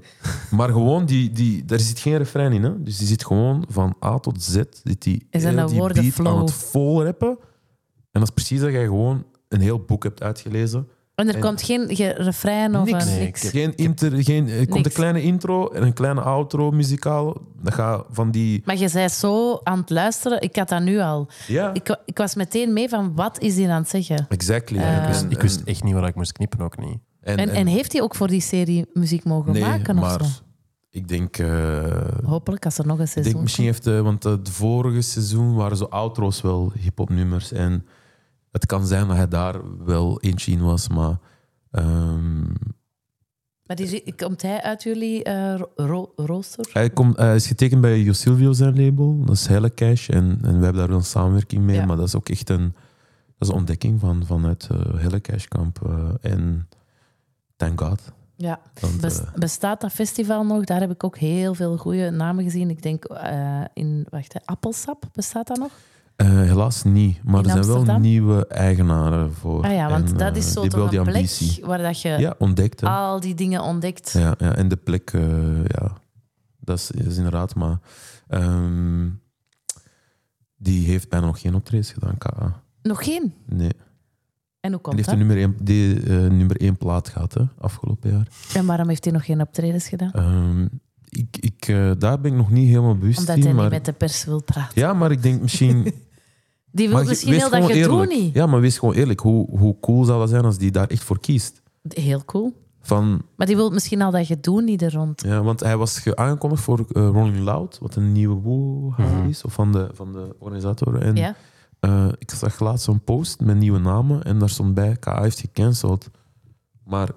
S2: maar gewoon, die, die, daar zit geen refrein in. Hè? Dus die zit gewoon van A tot Z. Zit die,
S1: Is dat
S2: heel
S1: een
S2: die beat
S1: woordenflow?
S2: aan het volrappen. En dat is precies dat jij gewoon een heel boek hebt uitgelezen.
S1: En er
S2: En-
S1: komt geen ge- refrein of
S2: Niks.
S1: een-
S3: Nee,
S1: niks.
S3: ik-
S2: Geen inter, geen, er komt
S1: Niks.
S2: een kleine intro en een kleine outro muzikaal. Dat gaat van die...
S1: Maar je zei zo aan het luisteren, ik had dat nu al.
S2: Ja,
S1: Ik, wa- ik was meteen mee van wat is hij aan het zeggen?
S2: exactly.
S1: Eh,
S2: En-
S1: Ik
S3: Dus
S2: en-
S3: ik wist echt niet waar ik moest knippen, ook niet.
S1: En, en, heeft hij ook voor die serie muziek mogen
S2: nee,
S1: maken of
S2: maar
S1: zo?
S2: ik denk... eh,
S1: Hopelijk, als er nog een
S2: Ik
S1: seizoen
S2: denk misschien heeft, eh, want eh, de vorige seizoen waren zo outro's wel hip-hop nummers. En het kan zijn dat hij daar wel eentje in was, maar ehm,
S1: komt. Maar die, komt hij uit jullie eh, ro- ro- rooster?
S2: hij, komt, hij is getekend bij Jo Silvio zijn label. Dat is Helle Cash en, en we hebben daar wel een samenwerking mee.
S1: Ja.
S2: Maar dat is ook echt een, dat is een ontdekking van, vanuit eh Helle Cash kamp. eh, en thank God.
S1: Ja.
S2: Want,
S1: Bes-
S2: eh,
S1: bestaat dat festival nog? Daar heb ik ook heel veel goede namen gezien. Ik denk eh, in, wacht, hè, Appelsap, bestaat dat nog?
S2: eh, helaas niet, maar
S1: In
S2: er zijn wel
S1: Amsterdam?
S2: nieuwe eigenaren voor.
S1: Ah ja, want
S2: En,
S1: dat
S2: eh,
S1: is zo
S2: die hebben
S1: toch
S2: wel
S1: een
S2: die
S1: plek eh, Ah,
S2: ambitie.
S1: waar dat je
S2: Ja, ontdekt. hè.
S1: al die dingen ontdekt.
S2: Ja, ja, en de plek, eh, ja, dat is, is inderdaad, maar ehm, die heeft bijna nog geen optredens gedaan, KA.
S1: Nog geen.
S2: Nee.
S1: En hoe
S2: Die
S1: komt
S2: heeft
S1: dat?
S2: de nummer één, die, eh, nummer één plaat gehad, hè, afgelopen jaar.
S1: En waarom heeft hij nog geen optredens gedaan?
S2: Ehm, ik, ik, eh, daar ben ik nog niet helemaal bewust
S1: Omdat
S2: in.
S1: hij
S2: maar,
S1: niet met de pers wil praten.
S2: Ja, maar ik denk misschien...
S1: Die wil
S2: maar
S1: misschien
S2: wees
S1: heel dat
S2: gewoon
S1: gedoe
S2: eerlijk.
S1: niet.
S2: Ja, maar wees gewoon eerlijk. Hoe, hoe cool zou dat zijn als die daar echt voor kiest?
S1: Heel cool.
S2: Van,
S1: Maar die wil misschien al dat gedoe niet er rond.
S2: ja, want hij was ge- aangekondigd voor eh, Rolling Loud, wat een nieuwe boel
S3: Mhm.
S2: is, of van de, van de organisatoren. En,
S1: Ja?
S2: eh, ik zag laatst zo'n post met nieuwe namen en daar stond bij, KA heeft gecanceld. Maar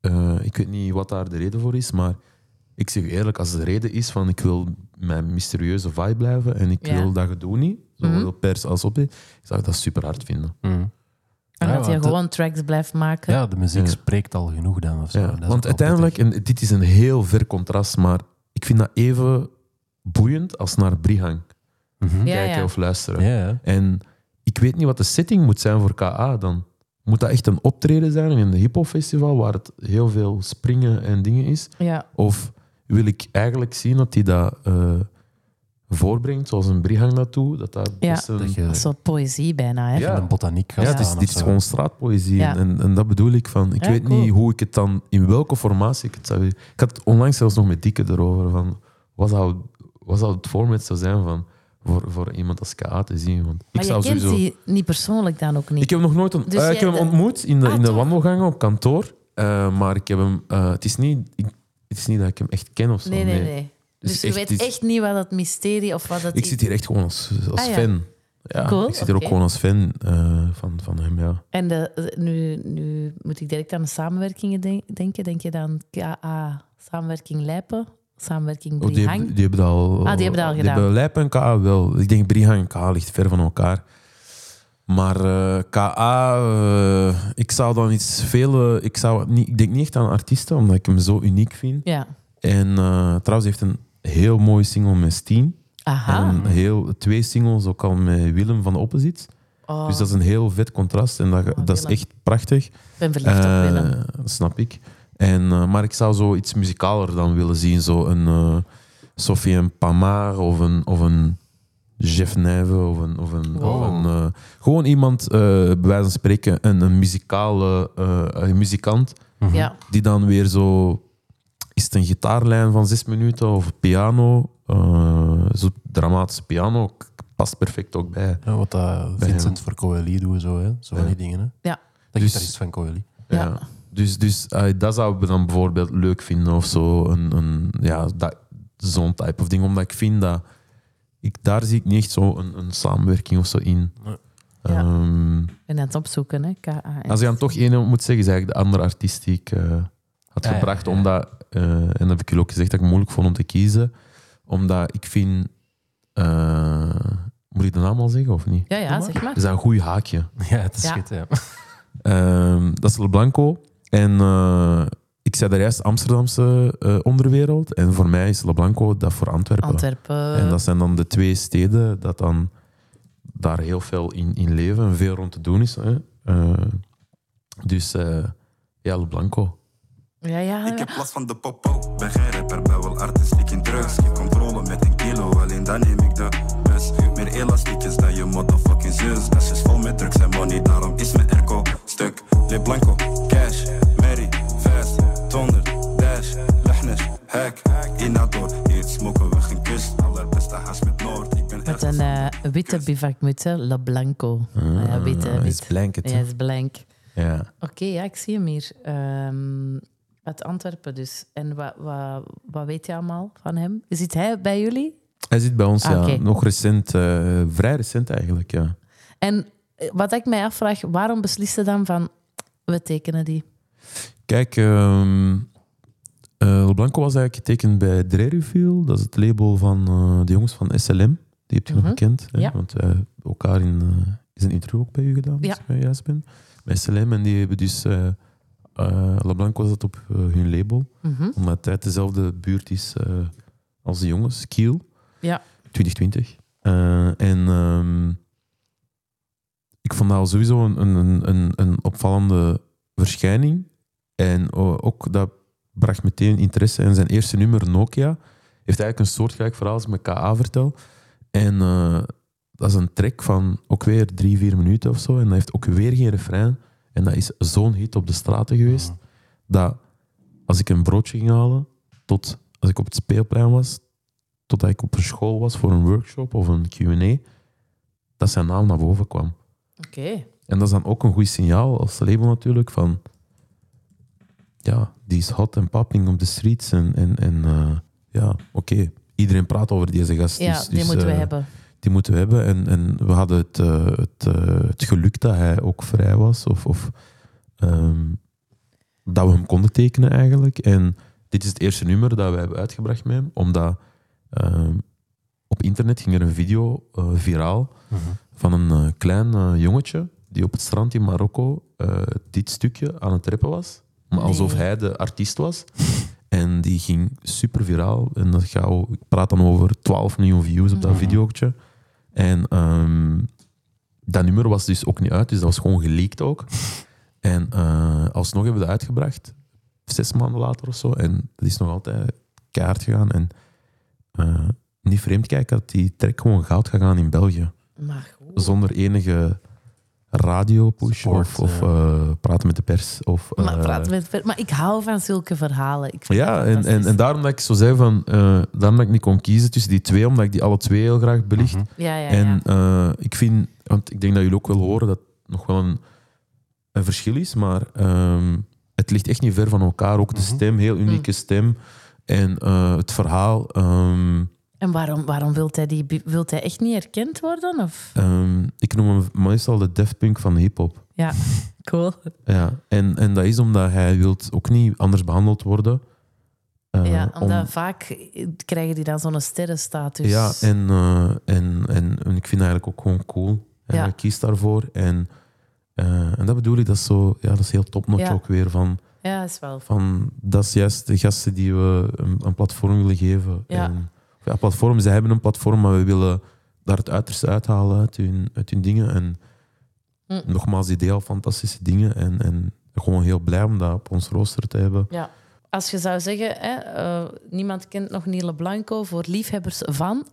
S2: eh, ik weet niet wat daar de reden voor is, maar ik zeg u eerlijk, als de reden is van ik wil mijn mysterieuze vibe blijven en ik
S1: Ja.
S2: wil dat gedoe niet, zowel
S1: Mhm.
S2: pers als op, zou ik dat super hard vinden.
S3: Mm.
S1: En
S3: Ja,
S1: dat hij
S3: want
S1: gewoon tracks blijft maken.
S3: Ja, de muziek
S2: Ja.
S3: spreekt al genoeg dan. Of zo.
S2: Ja,
S3: Dat is ook
S2: want
S3: wel
S2: uiteindelijk,
S3: prettig.
S2: en dit is een heel ver contrast, maar ik vind dat even boeiend als naar Brihang
S3: Mhm.
S1: Ja,
S2: kijken
S1: ja.
S2: of luisteren.
S3: Ja, ja.
S2: En ik weet niet wat de setting moet zijn voor KA dan. Moet dat echt een optreden zijn in een hip-hop festival waar het heel veel springen en dingen is?
S1: Ja.
S2: Of wil ik eigenlijk zien dat hij dat eh, voorbrengt, zoals een Brihang naartoe? Dat dat
S1: Ja.
S2: best een-
S3: Dat
S1: Dat
S3: je
S1: is wel poëzie bijna, hè?
S2: Ja.
S3: in een botaniek gaat
S2: ja, het is,
S3: staan
S2: dit
S3: of
S2: is
S3: zo.
S2: gewoon straatpoëzie.
S1: Ja.
S2: En, en dat bedoel ik van. Ik
S1: Ja,
S2: weet
S1: cool.
S2: niet hoe ik het dan, in welke formatie ik het zou willen. Ik had het onlangs zelfs nog met Dikke erover. Van, wat, zou, wat zou het format zou zijn van, voor, voor iemand als KA te zien? Want ik
S1: Maar je
S2: zou
S1: kent
S2: sowieso.
S1: die niet persoonlijk dan ook niet.
S2: Ik heb hem nog nooit ont-
S1: Dus
S2: eh, ik
S1: jij
S2: heb hem
S1: de-
S2: ontmoet in de,
S1: Ah,
S2: in de
S1: toch?
S2: wandelgangen op kantoor. Eh, maar ik heb hem, eh, het, is niet, ik- het is niet dat ik hem echt ken of zo.
S1: nee, nee, nee. Dus,
S2: Het is
S1: je
S2: echt
S1: weet
S2: iets-
S1: echt niet wat dat mysterie of wat dat
S2: Ik
S1: i-
S2: zit hier echt gewoon als, als
S1: Ah, ja.
S2: fan. Ja,
S1: Cool,
S2: ik zit hier
S1: oké.
S2: ook gewoon als fan eh, van, van hem. Ja.
S1: En de, de- nu, nu moet ik direct aan de samenwerkingen denk- denken. Denk je dan KA, samenwerking Lijpen, samenwerking
S2: Oh, die,
S1: Brihang?
S2: hebben, die hebben dat al.
S1: Ah, die hebben dat al gedaan.
S2: hebben Lijp en KA wel. Ik denk Brihang en KA ligt ver van elkaar. Maar eh, KA, eh, ik zou dan iets veel. eh, ik, zou niet, ik denk niet echt aan artiesten, omdat ik hem zo uniek vind.
S1: Ja.
S2: En eh, trouwens, hij heeft een heel mooie single met Steen.
S1: Aha.
S2: En heel, twee singles ook al met Willem van de Opposites.
S1: Oh,
S2: Dus dat is een heel vet contrast en dat, dat is
S1: Willem.
S2: echt prachtig.
S1: ik ben verliefd op Willem.
S2: Eh, dat snap ik. En, eh, maar ik zou zo iets muzikaler dan willen zien. Zo een eh Sophie Pamar of een, of een Jeff Nijve of een... Of een, of een eh, gewoon iemand, eh, bij wijze van spreken, een, een muzikale eh, een muzikant
S1: Ja.
S2: die dan weer zo... Is het een gitaarlijn van zes minuten of piano? eh zo dramatische piano k- past perfect ook bij.
S3: Ja, wat dat Vincent voor Coeli doet, zo, hè. zo van die dingen. Hè.
S1: Ja.
S3: Dat
S2: Dus-
S3: gitarist van Coeli.
S1: Ja.
S2: Ja. Dus, dus eh, dat zouden we dan bijvoorbeeld leuk vinden of zo. Een, een, ja, dat- zo'n type of ding. Omdat ik vind dat... Ik, daar zie ik niet echt zo een, een samenwerking of zo in.
S3: Nee.
S1: Ja.
S2: Ehm,
S1: Ik ben aan het opzoeken, hè. KA.
S2: als je dan toch één moet zeggen, is eigenlijk de andere artiest die ik eh, had
S3: Ah, ja,
S2: gebracht.
S3: ja.
S2: Omdat, eh, en dat heb ik jullie ook gezegd, dat ik moeilijk vond om te kiezen. Omdat ik vind... eh, moet ik de naam al zeggen of niet?
S1: Ja, ja, zeg maar.
S2: Dat is een goed haakje.
S3: Ja, het is
S1: Ja.
S3: goed, ja.
S2: Ehm, dat is Le Blanco. En eh, ik zei daar juist Amsterdamse eh, onderwereld. En voor mij is Le Blanco dat voor Antwerpen.
S1: Antwerpen.
S2: En dat zijn dan de twee steden dat dan daar heel veel in, in leven en veel rond te doen is. Hè. Eh, dus eh, ja, Le Blanco.
S1: Ja, ja.
S10: Ik heb last van de popo, ben geen rapper, ben wel artistiek in drugs. Geen controle met een kilo, alleen dan neem ik de bus. Meer elastiek is dan je motherfucking zus. Dat is vol met drugs en money, daarom is mijn airco stuk. Le Blanco, cash, Mary, vast, donder, dash, lachnes, hack. Inador, hier smoken we geen kust. Allerbeste haas met Noord, ik ben
S1: Met
S10: echt
S1: een eh, witte bivakmuts, hè. La Blanco. Ah, ja, witte,
S2: Ah, is
S1: wit.
S2: blanket.
S1: Ja,
S2: hè.
S1: het is blank.
S2: Ja.
S1: Oké, ja, ik zie hem hier. Ehm uit Antwerpen dus. En wat, wat, wat weet je allemaal van hem? Zit hij bij jullie?
S2: Hij zit bij ons,
S1: Ah,
S2: ja.
S1: oké.
S2: Nog recent, eh, vrij recent eigenlijk, ja.
S1: En eh, wat ik mij afvraag, waarom beslist je dan van... We tekenen die.
S2: Kijk, ehm eh, Le Blanco was eigenlijk getekend bij Dreruville. Dat is het label van eh, de jongens van SLM. Die hebt je
S1: Mhm.
S2: nog gekend. Hè?
S1: Ja.
S2: Want wij hebben elkaar in, eh, is een intro ook bij u gedaan,
S1: Ja.
S2: als ik mij juist ben. Bij SLM. En die hebben dus... eh eh, Le Blanco zat op eh, hun label.
S1: Mhm.
S2: Omdat het dezelfde buurt is eh, als de jongens. Kiel.
S1: Ja.
S2: 2020. Eh, en ehm, ik vond dat al sowieso een, een- een, een, een opvallende verschijning. En eh, ook dat bracht meteen interesse. En zijn eerste nummer, Nokia, heeft eigenlijk een soortgelijk verhaal als ik met KA vertel. En eh, dat is een track van ook weer drie, vier minuten of zo. En dat heeft ook weer geen refrein. En dat is zo'n hit op de straten geweest. Dat als ik een broodje ging halen, tot als ik op het speelplein was, totdat ik op een school was voor een workshop of een Q&A, dat zijn naam naar boven kwam.
S1: Oké.
S2: En dat is dan ook een goed signaal als label natuurlijk van... ja, die is hot en popping op de streets. En, en, en eh, ja, oké. Iedereen praat over deze gast.
S1: Ja,
S2: dus-
S1: die
S2: dus,
S1: moeten we
S2: eh,
S1: hebben.
S2: Die moeten we hebben. En, en we hadden het, eh, het, eh, het geluk dat hij ook vrij was. Of, of ehm, dat we hem konden tekenen eigenlijk. En dit is het eerste nummer dat we hebben uitgebracht met hem. Omdat ehm, op internet ging er een video eh, viraal van een eh, klein eh, jongetje die op het strand in Marokko eh, dit stukje aan het rappen was. Maar alsof
S1: Nee.
S2: hij de artiest was. En die ging super viraal. En dat gauw, ik praat dan over 12 miljoen views op dat videootje. En ehm, dat nummer was dus ook niet uit, dus dat was gewoon geleakt ook. En eh, alsnog hebben we dat uitgebracht, zes maanden later of zo. En dat is nog altijd keihard gegaan. En eh, niet vreemd kijken dat die track gewoon goud gegaan in België
S1: Maar goed.
S2: zonder enige radiopush
S3: Support,
S2: of, of
S3: ja.
S2: eh, praten met de pers. Of,
S1: maar,
S2: eh,
S1: praten we het ver- maar ik hou van zulke verhalen. Ik vind
S2: ja,
S1: dat
S2: en, en,
S1: fantastisch.
S2: en daarom dat ik zo zei van, eh, daarom dat ik niet kon kiezen tussen die twee, omdat ik die alle twee heel graag belicht.
S1: ja, ja, ja.
S2: En eh, ik vind, want ik denk dat jullie ook wel horen dat het nog wel een, een verschil is, maar ehm, het ligt echt niet ver van elkaar. Ook de stem, heel unieke
S1: Mhm.
S2: stem. En eh, het verhaal. ehm,
S1: En waarom, waarom wilt hij die? Wilt hij echt niet herkend worden? Of?
S2: ehm, ik noem hem meestal de Daft Punk van de hip-hop.
S1: Ja, cool.
S2: Ja, en, en dat is omdat hij wilt ook niet anders behandeld worden. Eh,
S1: ja,
S2: om-
S1: omdat vaak krijgen die dan zo'n sterrenstatus.
S2: ja en, eh, en, en, en ik vind het eigenlijk ook gewoon cool. En
S1: Ja.
S2: Hij kiest daarvoor. En, eh, en dat bedoel ik, dat is, zo, ja, dat is heel topnotch
S1: Ja.
S2: ook weer. Van,
S1: Ja, is wel.
S2: van, dat is juist de gasten die we een, een platform willen geven.
S1: Ja.
S2: En, of ja, platform, ze hebben een platform, maar we willen daar het uiterste uithalen uit hun, uit hun dingen. En
S1: Mm.
S2: nogmaals, die deel fantastische dingen. En, en gewoon heel blij om dat op ons rooster te hebben.
S1: Ja. Als je zou zeggen, hè, eh, niemand kent nog Niele Blanco voor liefhebbers van.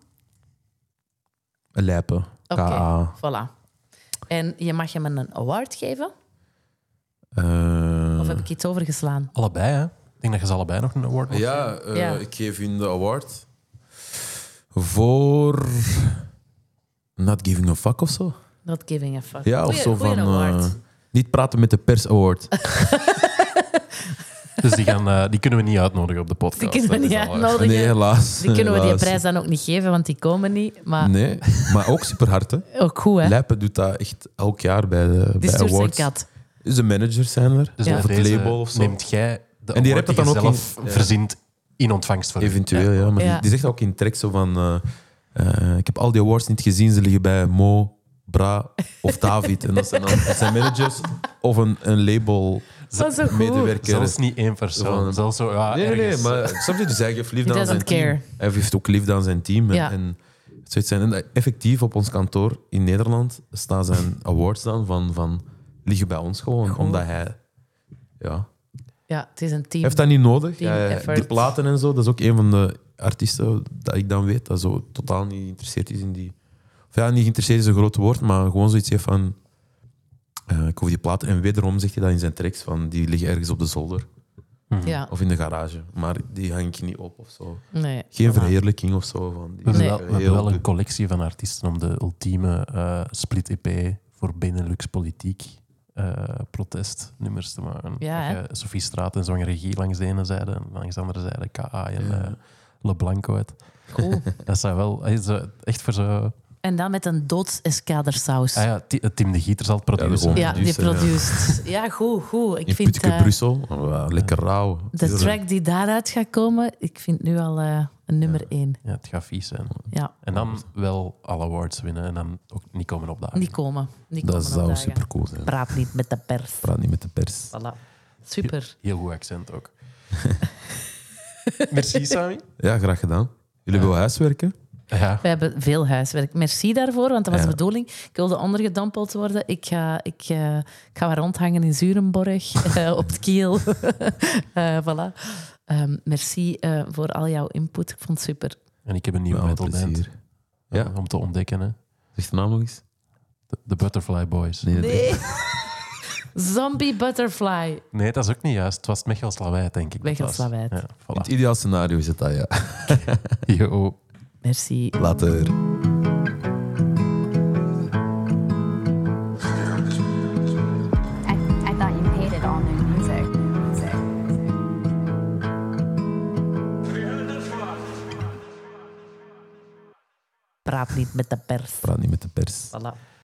S2: Lijpen.
S1: Oké,
S2: KA.
S1: voilà. En je mag hem een award geven?
S2: Eh,
S1: Of heb ik iets overgeslaan?
S3: Allebei, hè? Ik denk dat je ze allebei nog een award mag geven.
S2: ja, eh,
S1: Ja.
S2: ik geef hun de award. Voor. Not giving a fuck of zo.
S1: Not giving a fuck.
S2: Ja, of
S1: Goeie-
S2: zo
S1: goeie
S2: van.
S1: award. Oh,
S2: eh, niet praten met de pers award.
S3: Dus die, gaan, eh, die kunnen we niet uitnodigen op de podcast.
S1: Die kunnen we
S3: Dat
S1: niet
S3: is al waar.
S1: uitnodigen.
S2: Nee, helaas.
S1: die kunnen we die
S2: helaas.
S1: prijs dan ook niet geven, want die komen niet. Maar
S2: Nee, maar ook super hard. Hè.
S1: ook goed, hè?
S2: Lijpen doet dat echt elk jaar bij de
S1: die
S2: bij
S1: stuurt zijn
S2: awards.
S1: kat.
S2: Zijn managers zijn er.
S3: Dus
S1: Ja.
S3: op
S1: Of
S2: het
S3: deze
S2: label of zo.
S3: neemt jij de
S2: En die
S3: award
S2: hebt dat
S3: je
S2: dan ook
S3: zelf
S2: in- ja.
S3: verzint in ontvangst van u.
S2: Eventueel, ja. maar
S1: Ja.
S2: Die, die zegt ook in track zo van... eh, eh, ik heb al die awards niet gezien. Ze liggen bij Mo, Bra of David. en dat zijn dan dat zijn managers of een, een label
S1: Dat is zo goed.
S2: medewerker.
S3: Zelfs niet één persoon.
S2: Van-
S3: Zelfs zo, ja,
S2: nee, nee, nee,
S3: ergens.
S2: maar snap je? Dus hij geeft liefde
S1: He
S2: aan zijn
S1: doesn't care.
S2: team. Hij heeft ook liefde aan zijn team. En,
S1: Ja.
S2: en het zou iets zijn. En dat- effectief op ons kantoor in Nederland staan zijn awards dan van, van liggen bij ons gewoon. Omdat hij... Ja,
S1: Ja, het is een team.
S2: hij heeft dat niet nodig.
S1: Team
S2: Ja, ja,
S1: effort.
S2: die platen en zo, dat is ook een van de artiesten dat ik dan weet dat zo totaal niet geïnteresseerd is in die. Of ja, niet geïnteresseerd is een groot woord, maar gewoon zoiets heeft van. eh, ik hoef die platen. En wederom zegt hij dat in zijn tracks: van die liggen ergens op de zolder
S1: Ja,
S2: of in de garage, maar die hang ik niet op of zo.
S1: nee.
S2: Geen verheerlijking of zo. Van die
S3: We hebben,
S1: Nee.
S3: wel, we hebben wel een collectie van artiesten om de ultieme eh, split EP voor Benelux politiek eh, protestnummers te maken.
S1: Ja,
S3: Dat je Sophie Straat en Zwangere Regie langs de ene zijde en langs de andere zijde KA en
S2: Ja.
S3: eh, Le Blanco uit.
S1: Cool.
S3: Dat zijn wel eh, zo- echt voor zo.
S1: En dan met een doodseskadersaus.
S3: Ah ja, Ti- eh, Tim de Gieter zal het produceren.
S2: gewoon.
S1: Ja, die
S2: producer, ja.
S1: produced. Ja, goed, goed. Ik
S2: in
S1: vind
S2: Puttke,
S1: eh,
S2: Brussel, Oh, ja, lekker rauw.
S1: de track die daaruit gaat komen, ik vind nu al eh, een nummer één.
S3: Ja, het gaat vies zijn.
S1: Ja,
S3: En dan wel alle awards winnen en dan ook niet komen opdagen.
S1: niet komen. Niet
S2: Dat
S1: komen
S2: zou
S1: opdagen.
S2: super cool zijn.
S1: Praat niet met de pers.
S2: Praat niet met de pers.
S1: Voilà. Super.
S3: Heel goed accent ook. Merci, Sami.
S2: Ja, graag gedaan. Jullie willen huiswerken?
S3: Ja,
S1: We hebben veel huiswerk. Merci daarvoor, want dat was
S2: Ja.
S1: de bedoeling. Ik wilde ondergedompeld worden. Ik ga, ik, eh, ik ga wat rondhangen in Zurenborg, eh, op het kiel. Eh, voilà. Ehm, merci eh, voor al jouw input. Ik vond het super.
S3: en ik heb een nieuwe
S2: Met alle
S3: metal band.
S2: plezier.
S3: Ja.
S2: Ja.
S3: om te ontdekken. Hè.
S2: Zeg de naam nog eens?
S3: De, de Butterfly Boys. Nee.
S2: Nee, nee.
S1: Zombie Butterfly.
S3: dat is ook niet juist. Het was Mechel Slawijt, denk ik.
S1: Mechel
S3: Dat was-
S1: Slawijt.
S3: Ja,
S2: Het
S3: voilà.
S2: ideaal scenario is het dat, ja.
S3: Yo.
S1: Merci.
S2: Later.
S11: I, I thought you hated all new music. music.
S2: praat niet met de pers.
S1: Praat niet met de pers.
S2: Voilà.